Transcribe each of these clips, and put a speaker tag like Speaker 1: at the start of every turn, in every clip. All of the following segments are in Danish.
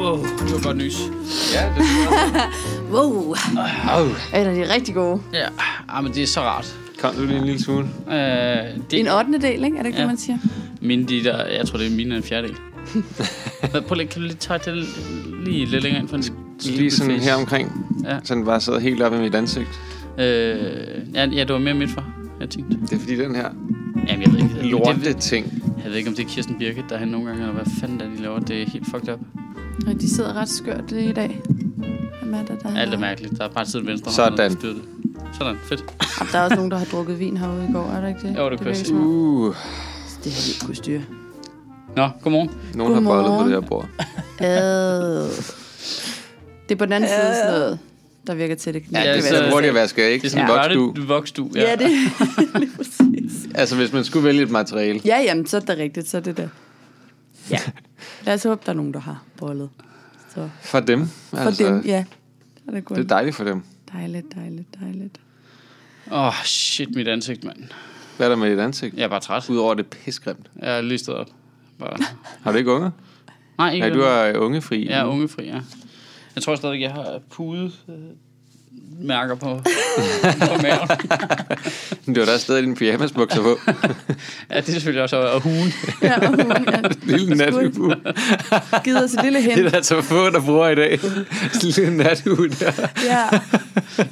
Speaker 1: Åh, oh, det var godt nys.
Speaker 2: Ja, det
Speaker 3: Wow.
Speaker 2: oh.
Speaker 3: Eller de er rigtig gode.
Speaker 1: Ja, ah, men det er så rart.
Speaker 2: Kom du lige en lille smule?
Speaker 1: Uh, det
Speaker 3: En ottende del, ikke? Er det ikke ja.
Speaker 1: Ja.
Speaker 3: det, man siger?
Speaker 1: Mine de der, jeg tror, det er mine er en fjerdedel. Hvad, prøv lige, kan du lige tage det lige lidt længere ind for en
Speaker 2: Lige
Speaker 1: stupid
Speaker 2: sådan
Speaker 1: face?
Speaker 2: her omkring.
Speaker 1: Ja.
Speaker 2: Ja. Så den bare sidder helt op i mit ansigt.
Speaker 1: Øh, ja, ja, det var mere midt for, jeg tænkte.
Speaker 2: Det er fordi den her
Speaker 1: Jamen, jeg ved ikke. det-
Speaker 2: lorte
Speaker 1: Det,
Speaker 2: ting.
Speaker 1: jeg ved ikke, om det er Kirsten Birgit, der er henne nogle gange, eller hvad fanden der de laver. Det er helt fucked up.
Speaker 3: Og de sidder ret skørt i dag. Amanda, der,
Speaker 1: Alt er
Speaker 3: har,
Speaker 1: mærkeligt. Der er bare siden venstre
Speaker 2: Sådan.
Speaker 1: Hånd, det. Sådan, fedt.
Speaker 3: der er også nogen, der har drukket vin herude i går, er der ikke det?
Speaker 1: Jo, det kan
Speaker 3: virker
Speaker 1: jeg se.
Speaker 3: som om-
Speaker 2: Uh,
Speaker 3: Det har vi ikke kunnet styre.
Speaker 1: Nå, godmorgen.
Speaker 2: nogen har bollet på
Speaker 3: Godmorgen.
Speaker 2: det her bord.
Speaker 3: Ad. Det er på den anden side sådan noget, der virker til det.
Speaker 2: Ja,
Speaker 3: det
Speaker 2: det er
Speaker 1: så-
Speaker 2: sådan hurtigt at vaske, ikke?
Speaker 1: Det er
Speaker 2: Det
Speaker 1: sådan
Speaker 2: en
Speaker 1: ja.
Speaker 2: vokstue.
Speaker 1: en vokstue.
Speaker 3: Ja, det lige præcis.
Speaker 2: Altså, hvis man skulle vælge et materiale.
Speaker 3: Ja, jamen, så er det rigtigt, så er det der. Ja. Lad os håbe, der er nogen, der har bollet. Så
Speaker 2: For dem.
Speaker 3: for altså, dem, ja. Så er det kun
Speaker 2: Det er dejligt for dem.
Speaker 3: dejligt, dejligt, dejligt.
Speaker 1: Åh, oh, shit, mit ansigt, mand.
Speaker 2: Hvad er der med dit ansigt?
Speaker 1: Jeg er bare træt.
Speaker 2: Udover det pissegrimt.
Speaker 1: Jeg er lige stået op. Bare.
Speaker 2: Har du ikke unger?
Speaker 1: Nej, ikke
Speaker 2: Nej, du
Speaker 1: den.
Speaker 2: er ungefri.
Speaker 1: Jeg er ungefri, ja. Jeg tror stadig, jeg har pude øh, mærker på, på maven.
Speaker 2: Du har da stadig dine pyjamasbukser på.
Speaker 1: Ja, det er selvfølgelig også og hugen.
Speaker 3: Ja, og hun er
Speaker 2: Lille nathue.
Speaker 3: givet os et lille hint.
Speaker 2: Det er der så få, der bruger i dag. Sådan en lille nathue der.
Speaker 3: Ja.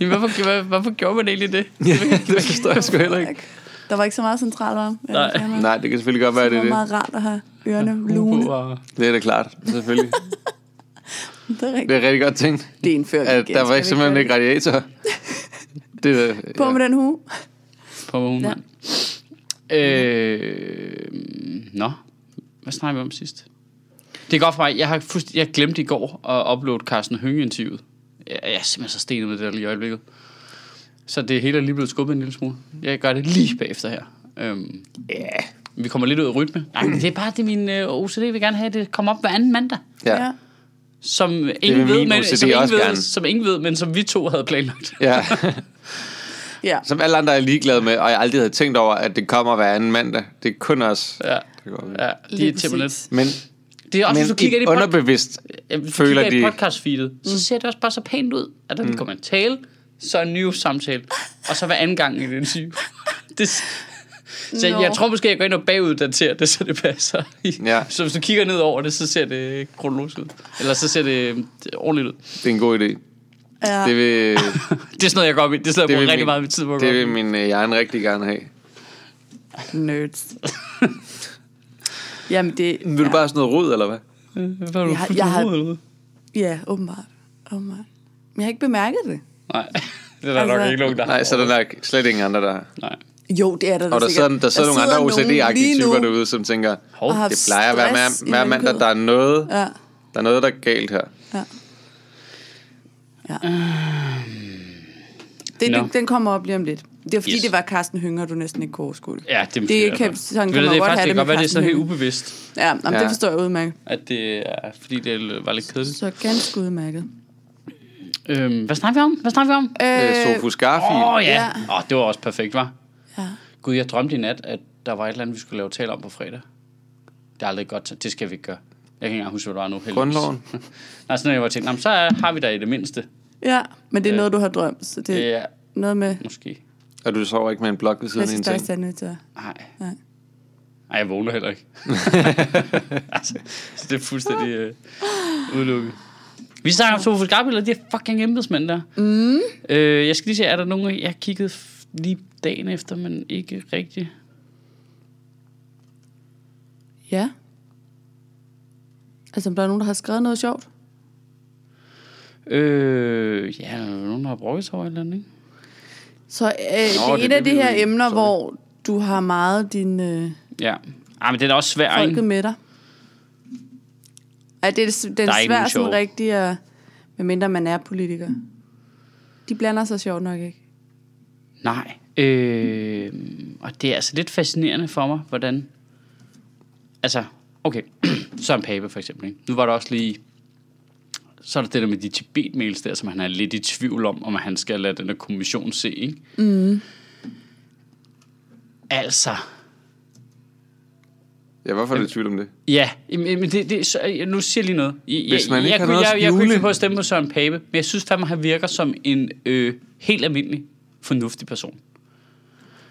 Speaker 1: Jamen, hvorfor, hvad- hvorfor gjorde man egentlig det?
Speaker 2: Ja, det forstår jeg sgu heller ikke.
Speaker 3: Der var ikke så meget centralvarme. Ja,
Speaker 1: Nej.
Speaker 3: det er nok.
Speaker 2: Nej, det kan selvfølgelig godt være, det
Speaker 3: Det
Speaker 2: er
Speaker 3: var
Speaker 2: det.
Speaker 3: meget rart at have ørerne
Speaker 1: Uge på
Speaker 3: lune.
Speaker 1: og-
Speaker 2: Det er da klart, selvfølgelig.
Speaker 3: Det er
Speaker 2: Det
Speaker 3: rigtigt.
Speaker 2: er rigtig godt tænkt,
Speaker 3: Det indfører vi
Speaker 2: at
Speaker 3: igen.
Speaker 2: der var
Speaker 3: Skal
Speaker 2: ikke
Speaker 3: vi
Speaker 2: simpelthen
Speaker 3: gøre
Speaker 2: ikke radiator. Det er,
Speaker 3: det? På med den hue.
Speaker 1: på ugen,
Speaker 3: Ja.
Speaker 1: mand. Øh, nå, hvad snakker vi om sidst? Det er godt for mig. Jeg, har fuldst, jeg glemte i går at uploade Carsten Hønge-interviewet. Jeg, jeg er simpelthen så stenet med det der lige i øjeblikket. Så det hele er lige blevet skubbet en lille smule. Jeg gør det lige bagefter her. Øhm,
Speaker 2: Ja.
Speaker 1: vi kommer lidt ud af rytme. Nej, men det er bare det, min øh, OCD vil gerne have, at det kommer op hver anden mandag.
Speaker 2: Ja.
Speaker 1: Som
Speaker 2: vil
Speaker 1: ingen, ved,
Speaker 2: min
Speaker 1: men,
Speaker 2: OCD
Speaker 1: som, ingen
Speaker 2: også
Speaker 1: ved,
Speaker 2: gerne.
Speaker 1: som ingen ved, men som vi to havde planlagt.
Speaker 2: ja.
Speaker 3: ja.
Speaker 2: Som alle andre er ligeglade med, og jeg aldrig havde tænkt over, at det kommer hver anden mandag. Det er kun os.
Speaker 1: Ja,
Speaker 2: Det går
Speaker 1: ja de
Speaker 3: Lige
Speaker 1: er tæmmer lidt.
Speaker 3: præcis.
Speaker 2: Men,
Speaker 1: Det er også, hvis du
Speaker 2: men
Speaker 1: kigger ind i
Speaker 2: et
Speaker 1: podcast-
Speaker 2: underbevidst
Speaker 1: Jamen, hvis
Speaker 2: Føler
Speaker 1: føler de... i
Speaker 2: de-
Speaker 1: podcast-feedet,
Speaker 3: Mm.
Speaker 1: så ser det også bare så pænt ud, at der mm. kommer en tale, så en ny samtale, og så hver anden gang i den syge. Det, s- så
Speaker 3: Nå.
Speaker 1: jeg tror måske, jeg går ind og baguddaterer det, så det passer. i-
Speaker 2: Ja.
Speaker 1: Så hvis du kigger ned over det, så ser det kronologisk ud. Eller så ser det øh, ordentligt ud.
Speaker 2: Det er en god idé.
Speaker 3: ja.
Speaker 2: Det vil,
Speaker 1: Det er sådan noget, jeg går op i. Det er sådan
Speaker 2: det
Speaker 1: noget, jeg bruger rigtig
Speaker 2: vil, min,
Speaker 1: meget af min tid på. at gå
Speaker 2: det
Speaker 1: op i.
Speaker 2: vil min øh, hjerne rigtig gerne have.
Speaker 3: Nerds. Jamen det...
Speaker 2: Vil du
Speaker 3: ja.
Speaker 2: bare sådan noget rod, eller hvad?
Speaker 1: Hvad har Øh, du
Speaker 3: Jeg har-
Speaker 1: fuldt
Speaker 3: jeg har-
Speaker 1: ud, eller hvad?
Speaker 3: Ja, åbenbart. åbenbart. Men jeg har ikke bemærket det.
Speaker 1: Nej, det er der
Speaker 3: Altså-
Speaker 1: nok ikke nogen, der har.
Speaker 2: Nej, så er der nok slet ingen andre, der har.
Speaker 1: Nej.
Speaker 3: Jo, det er der,
Speaker 2: Og der sidder, der sidder nogle andre OCD-agtige
Speaker 3: lige nu
Speaker 2: typer derude, som tænker,
Speaker 1: Hov,
Speaker 3: og har
Speaker 2: det plejer at være
Speaker 3: stress
Speaker 2: hver,
Speaker 3: i
Speaker 2: hver mandag,
Speaker 3: vandkødet.
Speaker 2: der er noget,
Speaker 3: Ja,
Speaker 2: der er noget, der er galt her.
Speaker 3: ja. ja. Det,
Speaker 1: Nå.
Speaker 3: den, den kommer op lige om lidt. Det er fordi,
Speaker 1: Yes.
Speaker 3: yes. det var Carsten Hønger, du næsten ikke kunne overskue det.
Speaker 1: Ja, det,
Speaker 3: det er
Speaker 1: jeg
Speaker 3: kan,
Speaker 1: godt.
Speaker 3: sådan
Speaker 1: Ved
Speaker 3: kan
Speaker 1: du,
Speaker 3: man
Speaker 1: det er
Speaker 3: godt
Speaker 1: faktisk,
Speaker 3: have
Speaker 1: det
Speaker 3: det
Speaker 1: kan godt
Speaker 3: med
Speaker 1: være, det er
Speaker 3: Carsten
Speaker 1: sådan helt
Speaker 3: Hønge.
Speaker 1: ubevidst,
Speaker 3: Ja, jamen,
Speaker 2: Ja.
Speaker 3: det forstår jeg udmærket.
Speaker 1: at det er, fordi det var lidt kedeligt.
Speaker 3: Så ganske udmærket.
Speaker 1: Øhm, hvad snakker vi om? Hvad snakker vi om?
Speaker 2: Øh, Sofus Garfield.
Speaker 1: Åh, oh, ja.
Speaker 3: ja.
Speaker 1: Åh, oh, det var også perfekt, var.
Speaker 3: Ja.
Speaker 1: Gud, jeg drømte i nat, at der var et eller andet, vi skulle lave tale om på fredag. Det er aldrig et godt. Det skal vi ikke gøre. Jeg kan ikke engang huske, hvad det var nu. Heldigvis.
Speaker 2: Grundloven.
Speaker 1: Nej, sådan noget, jeg var tænkt, "Nå, men så øh, har vi da i det mindste.
Speaker 3: ja, men det er noget, du har drømt. Så det er
Speaker 1: Ja,
Speaker 3: noget med
Speaker 1: måske.
Speaker 2: Og du sover ikke med en blok ved siden af en
Speaker 3: klassisk
Speaker 2: ting.
Speaker 3: dagsandvitser.
Speaker 1: Nej.
Speaker 3: Nej.
Speaker 1: Nej, jeg vågner heller ikke. altså, så det er fuldstændig øh, udelukket. Vi snakker om Sofus Garbiel, og de er fucking embedsmænd der. Mm. Øh, jeg skal lige se, er der nogen, jeg kiggede f- lige dagen efter, men ikke rigtigt.
Speaker 3: Ja. Altså, om der er nogen, der har skrevet noget sjovt?
Speaker 1: Øh, ja, der er nogen, der har brokket sig over et eller andet, ikke?
Speaker 3: Så øh,
Speaker 2: er
Speaker 3: det er et
Speaker 2: det,
Speaker 3: af de
Speaker 2: vi
Speaker 3: her
Speaker 2: vil-
Speaker 3: emner,
Speaker 2: sorry.
Speaker 3: hvor du har meget din øh,
Speaker 1: Ja. Ej, men det er da også svært,
Speaker 3: folket
Speaker 1: ikke?
Speaker 3: med dig. Ja, det er, den
Speaker 1: Der er
Speaker 3: er
Speaker 1: ikke nogen
Speaker 3: svært sådan
Speaker 1: sjove.
Speaker 3: rigtig, at, medmindre man er politiker. De blander sig sjovt nok ikke.
Speaker 1: Nej. Øh, og det er altså lidt fascinerende for mig, hvordan... Altså, okay. Søren Pape for eksempel, ikke? Nu var der også lige... Så er der det der med de Tibet-mails der, som han er lidt i tvivl om, om han skal lade den der kommission se, ikke? Mm. Altså,
Speaker 2: Jeg var for lidt i tvivl om det.
Speaker 1: Ja, jamen, jamen, det, det, så, nu siger jeg lige noget. I-
Speaker 2: Hvis man ikke
Speaker 1: jeg,
Speaker 2: har
Speaker 1: kunne-
Speaker 2: noget at
Speaker 1: jeg, jeg kunne
Speaker 2: skjule.
Speaker 1: ikke finde på at stemme på Søren Pape, men jeg synes fandme, at han virker som en øh, helt almindelig, fornuftig person.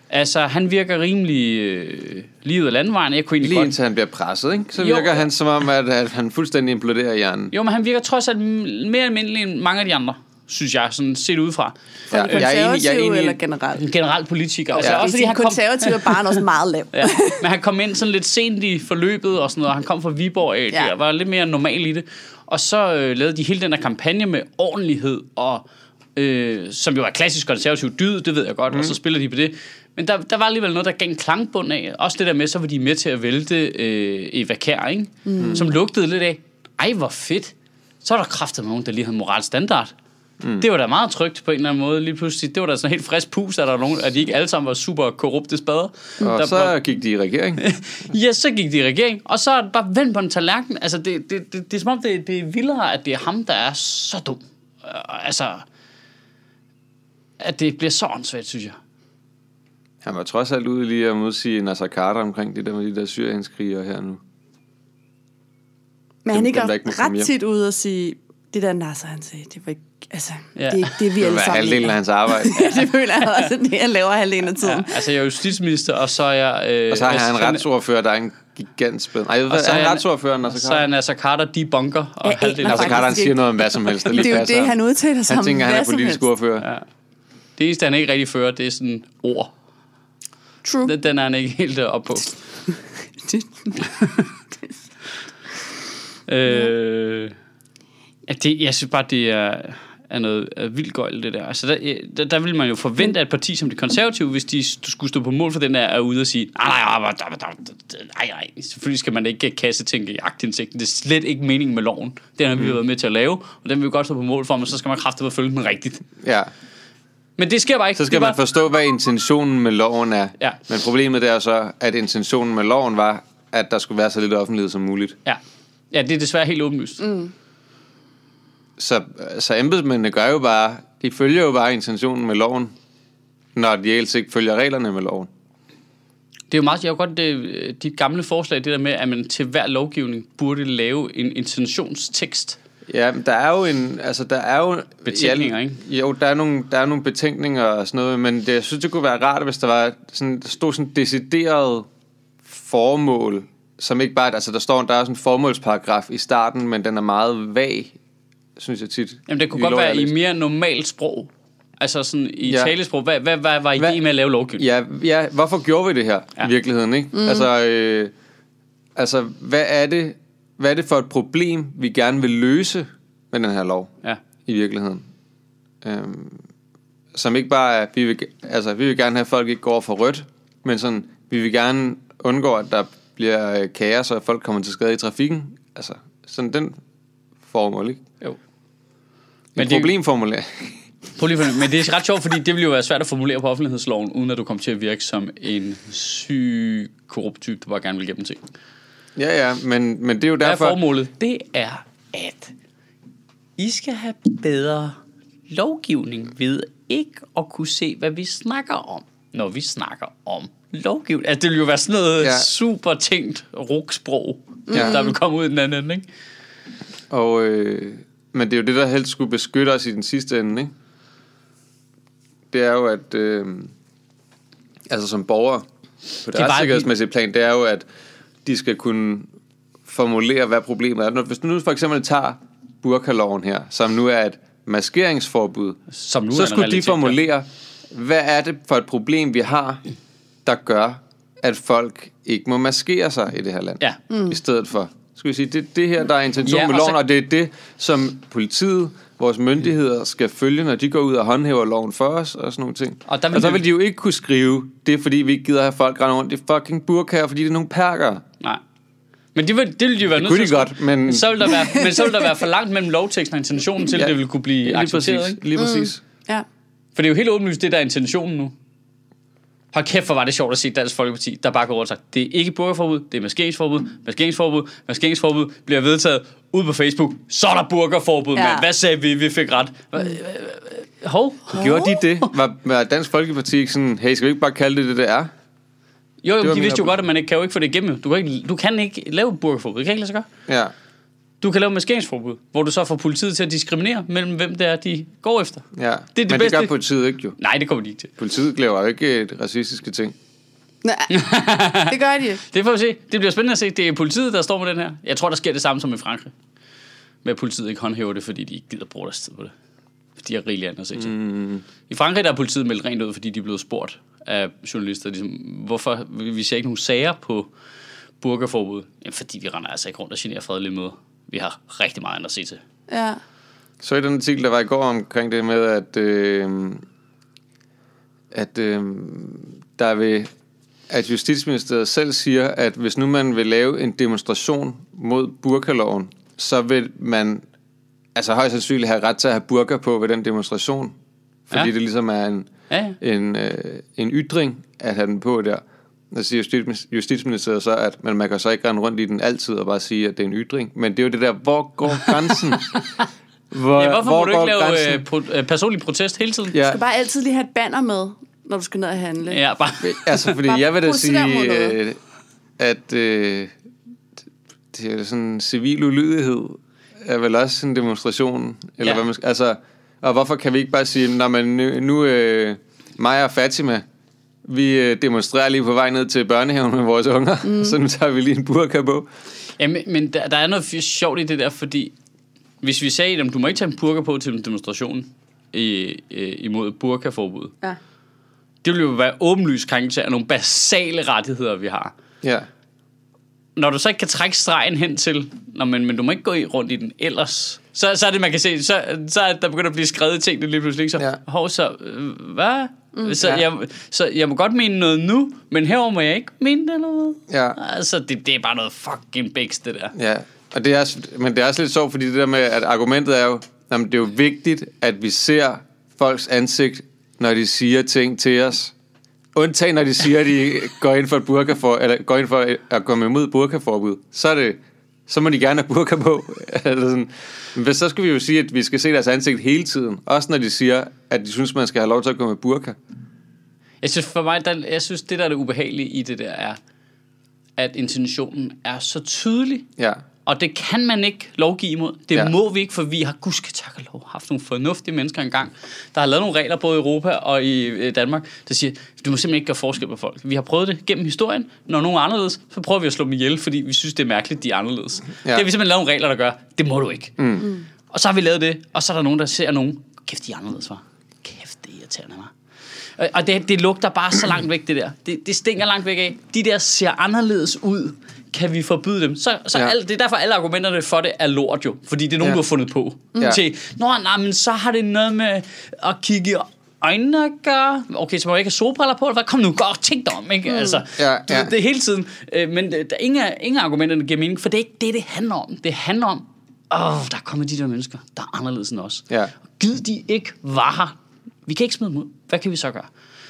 Speaker 1: Altså, han virker rimelig øh, livet af landvejen. Jeg kunne egentlig
Speaker 2: Lige
Speaker 1: godt
Speaker 2: indtil han bliver presset, ikke? så
Speaker 1: Jo.
Speaker 2: virker han som om, at, at han fuldstændig imploderer i hjernen.
Speaker 1: Jo, men han virker trods alt m- mere almindelig end mange af de andre, synes jeg, sådan set udefra.
Speaker 3: For ja,
Speaker 2: jeg er enig- jeg er
Speaker 3: konservative jeg
Speaker 2: enig i-
Speaker 3: eller generelt?
Speaker 1: En generel politiker. Ja.
Speaker 3: Ja.
Speaker 1: Altså, også fordi han kom,
Speaker 3: konservative er barn også meget lav.
Speaker 1: ja, men han kom ind sådan lidt sent i forløbet og sådan noget, og han kom fra Viborg af, ja.
Speaker 3: Ja.
Speaker 1: der var lidt mere normal i det. Og så øh, lavede de hele den der kampagne med ordentlighed, og, øh, som jo er klassisk konservativ dyd, det ved jeg godt, mm.
Speaker 2: Mhm.
Speaker 1: og så spiller de på det. Men der, der var alligevel noget, der gav en klangbund af. Også det der med, så var de med til at vælte øh, Eva Kjær, ikke?
Speaker 2: Mhm.
Speaker 1: Mm. som lugtede lidt af, ej hvor fedt, så var der kraftet nogen, der lige havde moralstandard.
Speaker 2: Mhm.
Speaker 1: Mm. Det var da meget trygt på en eller anden måde lige pludselig. Det var da sådan helt frisk pus, at, der var nogen, at de ikke alle sammen var super korrupte spader. Mm. der
Speaker 2: Og
Speaker 1: var-
Speaker 2: så gik de i regering.
Speaker 1: Ja, så gik de i regering, og så er det bare vendt på en tallerken. Altså, det, det, det, det er som om, det, det er vildere, at det er ham, der er så dum. Øh, altså, at det bliver så åndssvagt, synes jeg.
Speaker 2: Han var trods alt ude lige at modsige Nasser Carter omkring det der med de der syrienskriger her nu.
Speaker 3: Men han
Speaker 2: Dem-
Speaker 3: ikke
Speaker 2: dem,
Speaker 3: er
Speaker 2: der ikke må komme hjem.
Speaker 3: ret tit ude og sige, det der Nasser, han sagde, det var ikke, altså,
Speaker 1: Ja.
Speaker 3: ja. det er ikke det, vi
Speaker 2: Det
Speaker 3: alle
Speaker 2: var
Speaker 3: sammen
Speaker 2: halvdelen af
Speaker 3: mener.
Speaker 2: hans arbejde.
Speaker 3: det føler jeg også, at det han laver halvdelen af tiden.
Speaker 1: Altså, jeg er justitsminister, og så er jeg... Øh,
Speaker 2: Og så har han en
Speaker 1: assistent-
Speaker 2: retsordfører, der er en gigant spæd. Ej, jeg ved,
Speaker 1: og
Speaker 2: hvad,
Speaker 1: så
Speaker 2: er
Speaker 1: er
Speaker 2: han
Speaker 1: han-
Speaker 2: retsordfører,
Speaker 1: og
Speaker 2: Nasser
Speaker 1: så er
Speaker 2: Carter?
Speaker 1: han altså Carter debunker, og
Speaker 3: Jeg
Speaker 1: halvdelen af
Speaker 3: aner
Speaker 2: Nasser Carter, han
Speaker 3: faktisk
Speaker 2: siger
Speaker 3: ikke.
Speaker 2: noget om hvad som helst.
Speaker 3: Det
Speaker 2: lige
Speaker 3: er jo
Speaker 2: passer
Speaker 3: det,
Speaker 2: ham.
Speaker 3: han udtaler sig
Speaker 2: Han
Speaker 3: om,
Speaker 2: tænker, han
Speaker 3: hvad
Speaker 2: er
Speaker 3: som
Speaker 2: politisk
Speaker 3: helst.
Speaker 2: ordfører.
Speaker 1: Det eneste, han ikke rigtig fører, det er sådan ord.
Speaker 3: True.
Speaker 1: Den, den er han ikke helt øh, oppe på. Øh, ja, det, jeg synes bare, det er, er noget er vildt gøjl, det der. Altså, der, øh, der, der ville man jo forvente, at et parti som det konservative, hvis de st- skulle stå på mål for den der, er ude og sige, nej, nej, nej, nej, nej, nej, nej, selvfølgelig skal man ikke kassetænke i aktindsigten. Det er slet ikke meningen med loven. Den har vi
Speaker 2: Mm.
Speaker 1: været med til at lave, og den vil vi godt stå på mål for, men så skal man kraftigt følge den rigtigt.
Speaker 2: Ja,
Speaker 1: Men det sker bare ikke.
Speaker 2: så skal
Speaker 1: det er
Speaker 2: man
Speaker 1: bare,
Speaker 2: forstå, hvad intentionen med loven er.
Speaker 1: Ja.
Speaker 2: Men problemet det er så, at intentionen med loven var, at der skulle være så lidt offentlighed som muligt.
Speaker 1: ja. ja, det er desværre helt åbenlyst. Mm.
Speaker 2: Så, så embedsmændene gør jo bare, de følger jo bare intentionen med loven, når de ellers ikke følger reglerne med loven.
Speaker 1: Det er jo meget, jeg har godt det, dit gamle forslag, det der med, at man til hver lovgivning burde lave en intentionstekst.
Speaker 2: Ja, men der er jo en, altså der er jo...
Speaker 1: Betænkninger,
Speaker 2: ja,
Speaker 1: ikke?
Speaker 2: Jo, der er, nogle, der er nogle betænkninger og sådan noget, men det, jeg synes, det kunne være rart, hvis der var sådan, der stod sådan decideret formål, som ikke bare, altså der står, der er sådan en formålsparagraf i starten, men den er meget vag, synes jeg tit.
Speaker 1: Jamen, det kunne
Speaker 2: I
Speaker 1: godt
Speaker 2: lov, jeg
Speaker 1: være i
Speaker 2: læste.
Speaker 1: mere normalt sprog. Altså sådan i ja.
Speaker 2: Ja.
Speaker 1: talesprog. Hvad, hvad, hvad var ideen
Speaker 2: Hvad-
Speaker 1: med at lave lovgivning?
Speaker 2: Ja, ja, hvorfor gjorde vi det her
Speaker 1: Ja.
Speaker 2: ja. i virkeligheden, ikke? Mm. Altså, øh, altså hvad, er det, hvad er det for et problem, vi gerne vil løse med den her lov?
Speaker 1: Ja. ja.
Speaker 2: i virkeligheden. Øhm, som ikke bare er, vi vil, altså, vi vil gerne have, at folk ikke går over for rødt, men sådan, vi vil gerne undgå, at der bliver øh, kaos, og at folk kommer til skade i trafikken. Altså, sådan den formål, ikke?
Speaker 1: Jo.
Speaker 2: Men
Speaker 1: Men
Speaker 2: en
Speaker 1: det-
Speaker 2: problemformulering.
Speaker 1: Prøv lige at finde- Men det er ret sjovt, fordi det ville jo være svært at formulere på offentlighedsloven, uden at du kom til at virke som en syg, korrupt type, der bare gerne vil gennem ting.
Speaker 2: ja, ja, men, men det er jo
Speaker 1: Hvad er
Speaker 2: derfor...
Speaker 1: formålet? Det er, at I skal have bedre lovgivning ved ikke at kunne se, hvad vi snakker om, når vi snakker om lovgivning. Altså, det ville jo være sådan noget ja.
Speaker 2: Ja.
Speaker 1: super tænkt rugsprog, ja.
Speaker 2: Ja.
Speaker 1: der vil komme ud i den anden ende, ikke?
Speaker 2: Og, øh, men det er jo det, der helst skulle beskytte os i den sidste ende, ikke? Det er jo, at... Øh, altså som borgere, på det,
Speaker 1: var-
Speaker 2: det retssikkerhedsmæssige plan, det er jo, at de skal kunne formulere, hvad problemet er. Når- Hvis du nu for eksempel tager burkaloven her, som nu er et maskeringsforbud,
Speaker 1: Som nu er
Speaker 2: så
Speaker 1: en
Speaker 2: skulle de
Speaker 1: realitet,
Speaker 2: formulere, hvad er det for et problem, vi har, der gør, at folk ikke må maskere sig i det her land.
Speaker 1: Ja.
Speaker 2: Mm. I stedet for, skal vi sige, det er det her, der er intention
Speaker 1: Ja,
Speaker 2: ja, med
Speaker 1: og så-
Speaker 2: loven, og, og det er det, som politiet, vores myndigheder, skal følge, når de går ud og håndhæver loven for os, og sådan nogle ting.
Speaker 1: Og der vil
Speaker 2: og så
Speaker 1: de-
Speaker 2: vil de jo ikke kunne skrive, det er fordi, vi ikke gider have folk rende rundt i fucking burkaer, fordi det er nogle perker.
Speaker 1: Nej. Men det ville, det ville de jo være nødt
Speaker 2: kunne
Speaker 1: til
Speaker 2: de
Speaker 1: at-
Speaker 2: godt, men-
Speaker 1: Så ville der være, men så ville der være for langt mellem lovteksten og intentionen til, ja.
Speaker 2: Ja,
Speaker 1: at det ville kunne blive
Speaker 2: lige præcis.
Speaker 1: accepteret, ikke?
Speaker 2: Lige præcis.
Speaker 3: Ja.
Speaker 1: For det er jo helt åbenlyst, det der er intentionen nu. Hold kæft, hvor var det sjovt at se Dansk Folkeparti, der bare går over og sagt, det er ikke burgerforbud, det er maskeringsforbud, maskeringsforbud, maskeringsforbud bliver vedtaget ud på Facebook. Så er der burgerforbud, ja.
Speaker 3: Ja.
Speaker 1: mand. Hvad sagde vi? Vi fik ret. Hva- Hov.
Speaker 2: Gjorde de det? Var, var Dansk Folkeparti ikke sådan, hey, skal vi ikke bare kalde det det, det er?
Speaker 1: Jo, jo,
Speaker 2: var
Speaker 1: men de
Speaker 2: min
Speaker 1: vidste jo
Speaker 2: oplevelse.
Speaker 1: godt, at man ikke, kan jo ikke få det igennem. jo. Du kan ikke, du kan ikke lave et burkaforbud. Det kan ikke lade sig gøre.
Speaker 2: Ja.
Speaker 1: Du kan lave maskeringsforbud, hvor du så får politiet til at diskriminere mellem, hvem det er, de går efter.
Speaker 2: Ja.
Speaker 1: det
Speaker 2: Men
Speaker 1: bedste.
Speaker 2: det gør politiet ikke jo.
Speaker 1: Nej, det kommer de ikke til.
Speaker 2: Politiet laver jo ikke øh, racistiske ting.
Speaker 3: Nej, det gør de.
Speaker 1: Det får vi se. Det bliver spændende at se. Det er politiet, der står med den her. Jeg tror, der sker det samme som i Frankrig. Med at politiet ikke håndhæver det, fordi de ikke gider bruge deres tid på det. Fordi de har rigeligt andet at se til. Mm. I Frankrig der er politiet meldt rent ud, fordi de er blevet spurgt af journalister. Ligesom, hvorfor vi vi ser ikke nogen sager på burkaforbud? Jamen, fordi vi render altså ikke rundt og generer fredelige møder. Vi har rigtig meget andet at se til.
Speaker 3: Ja.
Speaker 2: Så i den artikel, der var i går omkring det med, at, øh, at øh, der vil, at Justitsministeriet selv siger, at hvis nu man vil lave en demonstration mod burkaloven, så vil man altså højst sandsynligt have ret til at have burker på ved den demonstration. Fordi
Speaker 1: Ja.
Speaker 2: ja. det ligesom er en,
Speaker 1: Ja, ja.
Speaker 2: en, øh, en ytring at have den på der. Og så siger justitsmi- Justitsministeriet så, at men man kan så ikke rende rundt i den altid og bare sige, at det er en ytring. Men det er jo det der, hvor går grænsen? Hvor,
Speaker 1: ja hvorfor må du
Speaker 2: går
Speaker 1: ikke lave
Speaker 2: grænsen?
Speaker 1: øh, pro- øh, personlig protest hele tiden?
Speaker 3: Du
Speaker 2: Ja,
Speaker 3: skal bare altid lige have et banner med, når du skal ned og handle.
Speaker 1: ja bare.
Speaker 2: altså fordi
Speaker 3: bare
Speaker 2: jeg vil da
Speaker 3: protestere mod
Speaker 2: sige,
Speaker 3: noget.
Speaker 2: øh, at øh, det er sådan en civil ulydighed er vel også en demonstration.
Speaker 1: Ja.
Speaker 2: Eller ja. hvad man, skal- altså, og hvorfor kan vi ikke bare sige, når man nu, nu øh, mig og Fatima, vi øh, demonstrerer lige på vej ned til børnehaven med vores unger, mm. så nu tager vi lige en burka på.
Speaker 1: Ja, men, men der, der er noget f- sjovt i det der, fordi hvis vi sagde, at du må ikke tage en burka på til en demonstration i, øh, imod burkaforbud,
Speaker 3: Ja.
Speaker 1: det ville jo være åbenlyst krænkelse af nogle basale rettigheder, vi har.
Speaker 2: Ja.
Speaker 1: Når du så ikke kan trække stregen hen til, Nå, men, men du må ikke gå i, rundt i den ellers, så, så er det, man kan se, så, så er der begynder at blive skrevet ting, det lige pludselig ikke så, ja.
Speaker 2: Ja.
Speaker 1: hov, så, øh, hvad? Mm, så,
Speaker 2: Ja.
Speaker 1: ja. jeg, så jeg må godt mene noget nu, men herover må jeg ikke mene det eller hvad?
Speaker 2: Ja.
Speaker 1: Altså, det, det er bare noget fucking bæks, det der.
Speaker 2: Ja, og det er, også- men det er også lidt sjovt, fordi det der med, at argumentet er jo, jamen, det er jo vigtigt, at vi ser folks ansigt, når de siger ting til os. Undtagen når de siger, at de går ind for, et burkafor, eller går ind for at komme imod burkaforbud, så er det så må de gerne have burka på. Eller sådan. Men hvis- så skal vi jo sige, at vi skal se deres ansigt hele tiden. Også når de siger, at de synes, man skal have lov til at gå med burka.
Speaker 1: Jeg synes for mig, der, jeg synes det der er det ubehagelige i det der er, at intentionen er så tydelig,
Speaker 2: Ja.
Speaker 1: og det kan man ikke lovgive imod. Det ja.
Speaker 2: Ja.
Speaker 1: må vi ikke, for vi har gudske tak og lov haft nogle fornuftige mennesker engang, der har lavet nogle regler både i Europa og i øh, Danmark, der siger, du må simpelthen ikke gøre forskel på folk. Vi har prøvet det gennem historien. Når nogen er anderledes, så prøver vi at slå dem ihjel, fordi vi synes, det er mærkeligt, de er anderledes. Ja.
Speaker 2: Ja.
Speaker 1: Det har vi simpelthen lavet nogle regler, der gør, det må du ikke. Mm. Og så har vi lavet det, og så er der nogen, der ser nogen, kæft, de er anderledes, var. Kæft, det er irriterende, var. Og- Og det, det lugter bare så langt væk, det der. Det, det stinker langt væk af. De der ser anderledes ud. Kan vi forbyde dem? Så, så ja.
Speaker 2: Ja.
Speaker 1: alt, det er derfor, alle argumenterne for det er lort jo. Fordi det er nogen, ja.
Speaker 2: Ja. Mm.
Speaker 1: du har fundet på. Ja.
Speaker 2: Ja.
Speaker 1: Til, Nå, nej, men så har det noget med at kigge i øjnene at gøre. Okay, så må jeg ikke have solbriller på, eller hvad? Kom nu, godt tænk dig om, ikke? Altså,
Speaker 2: Mm. Ja,
Speaker 1: du ved,
Speaker 2: ja.
Speaker 1: Det, det er hele tiden. Øh, men øh, der er ingen, af- ingen af argumenterne der giver mening, for det er ikke det, det handler om. Det handler om, åh, oh, der er kommet de der mennesker, der er anderledes end os.
Speaker 2: Ja.
Speaker 1: Gid de ikke var her. Vi kan ikke smide dem ud. Hvad kan vi så gøre?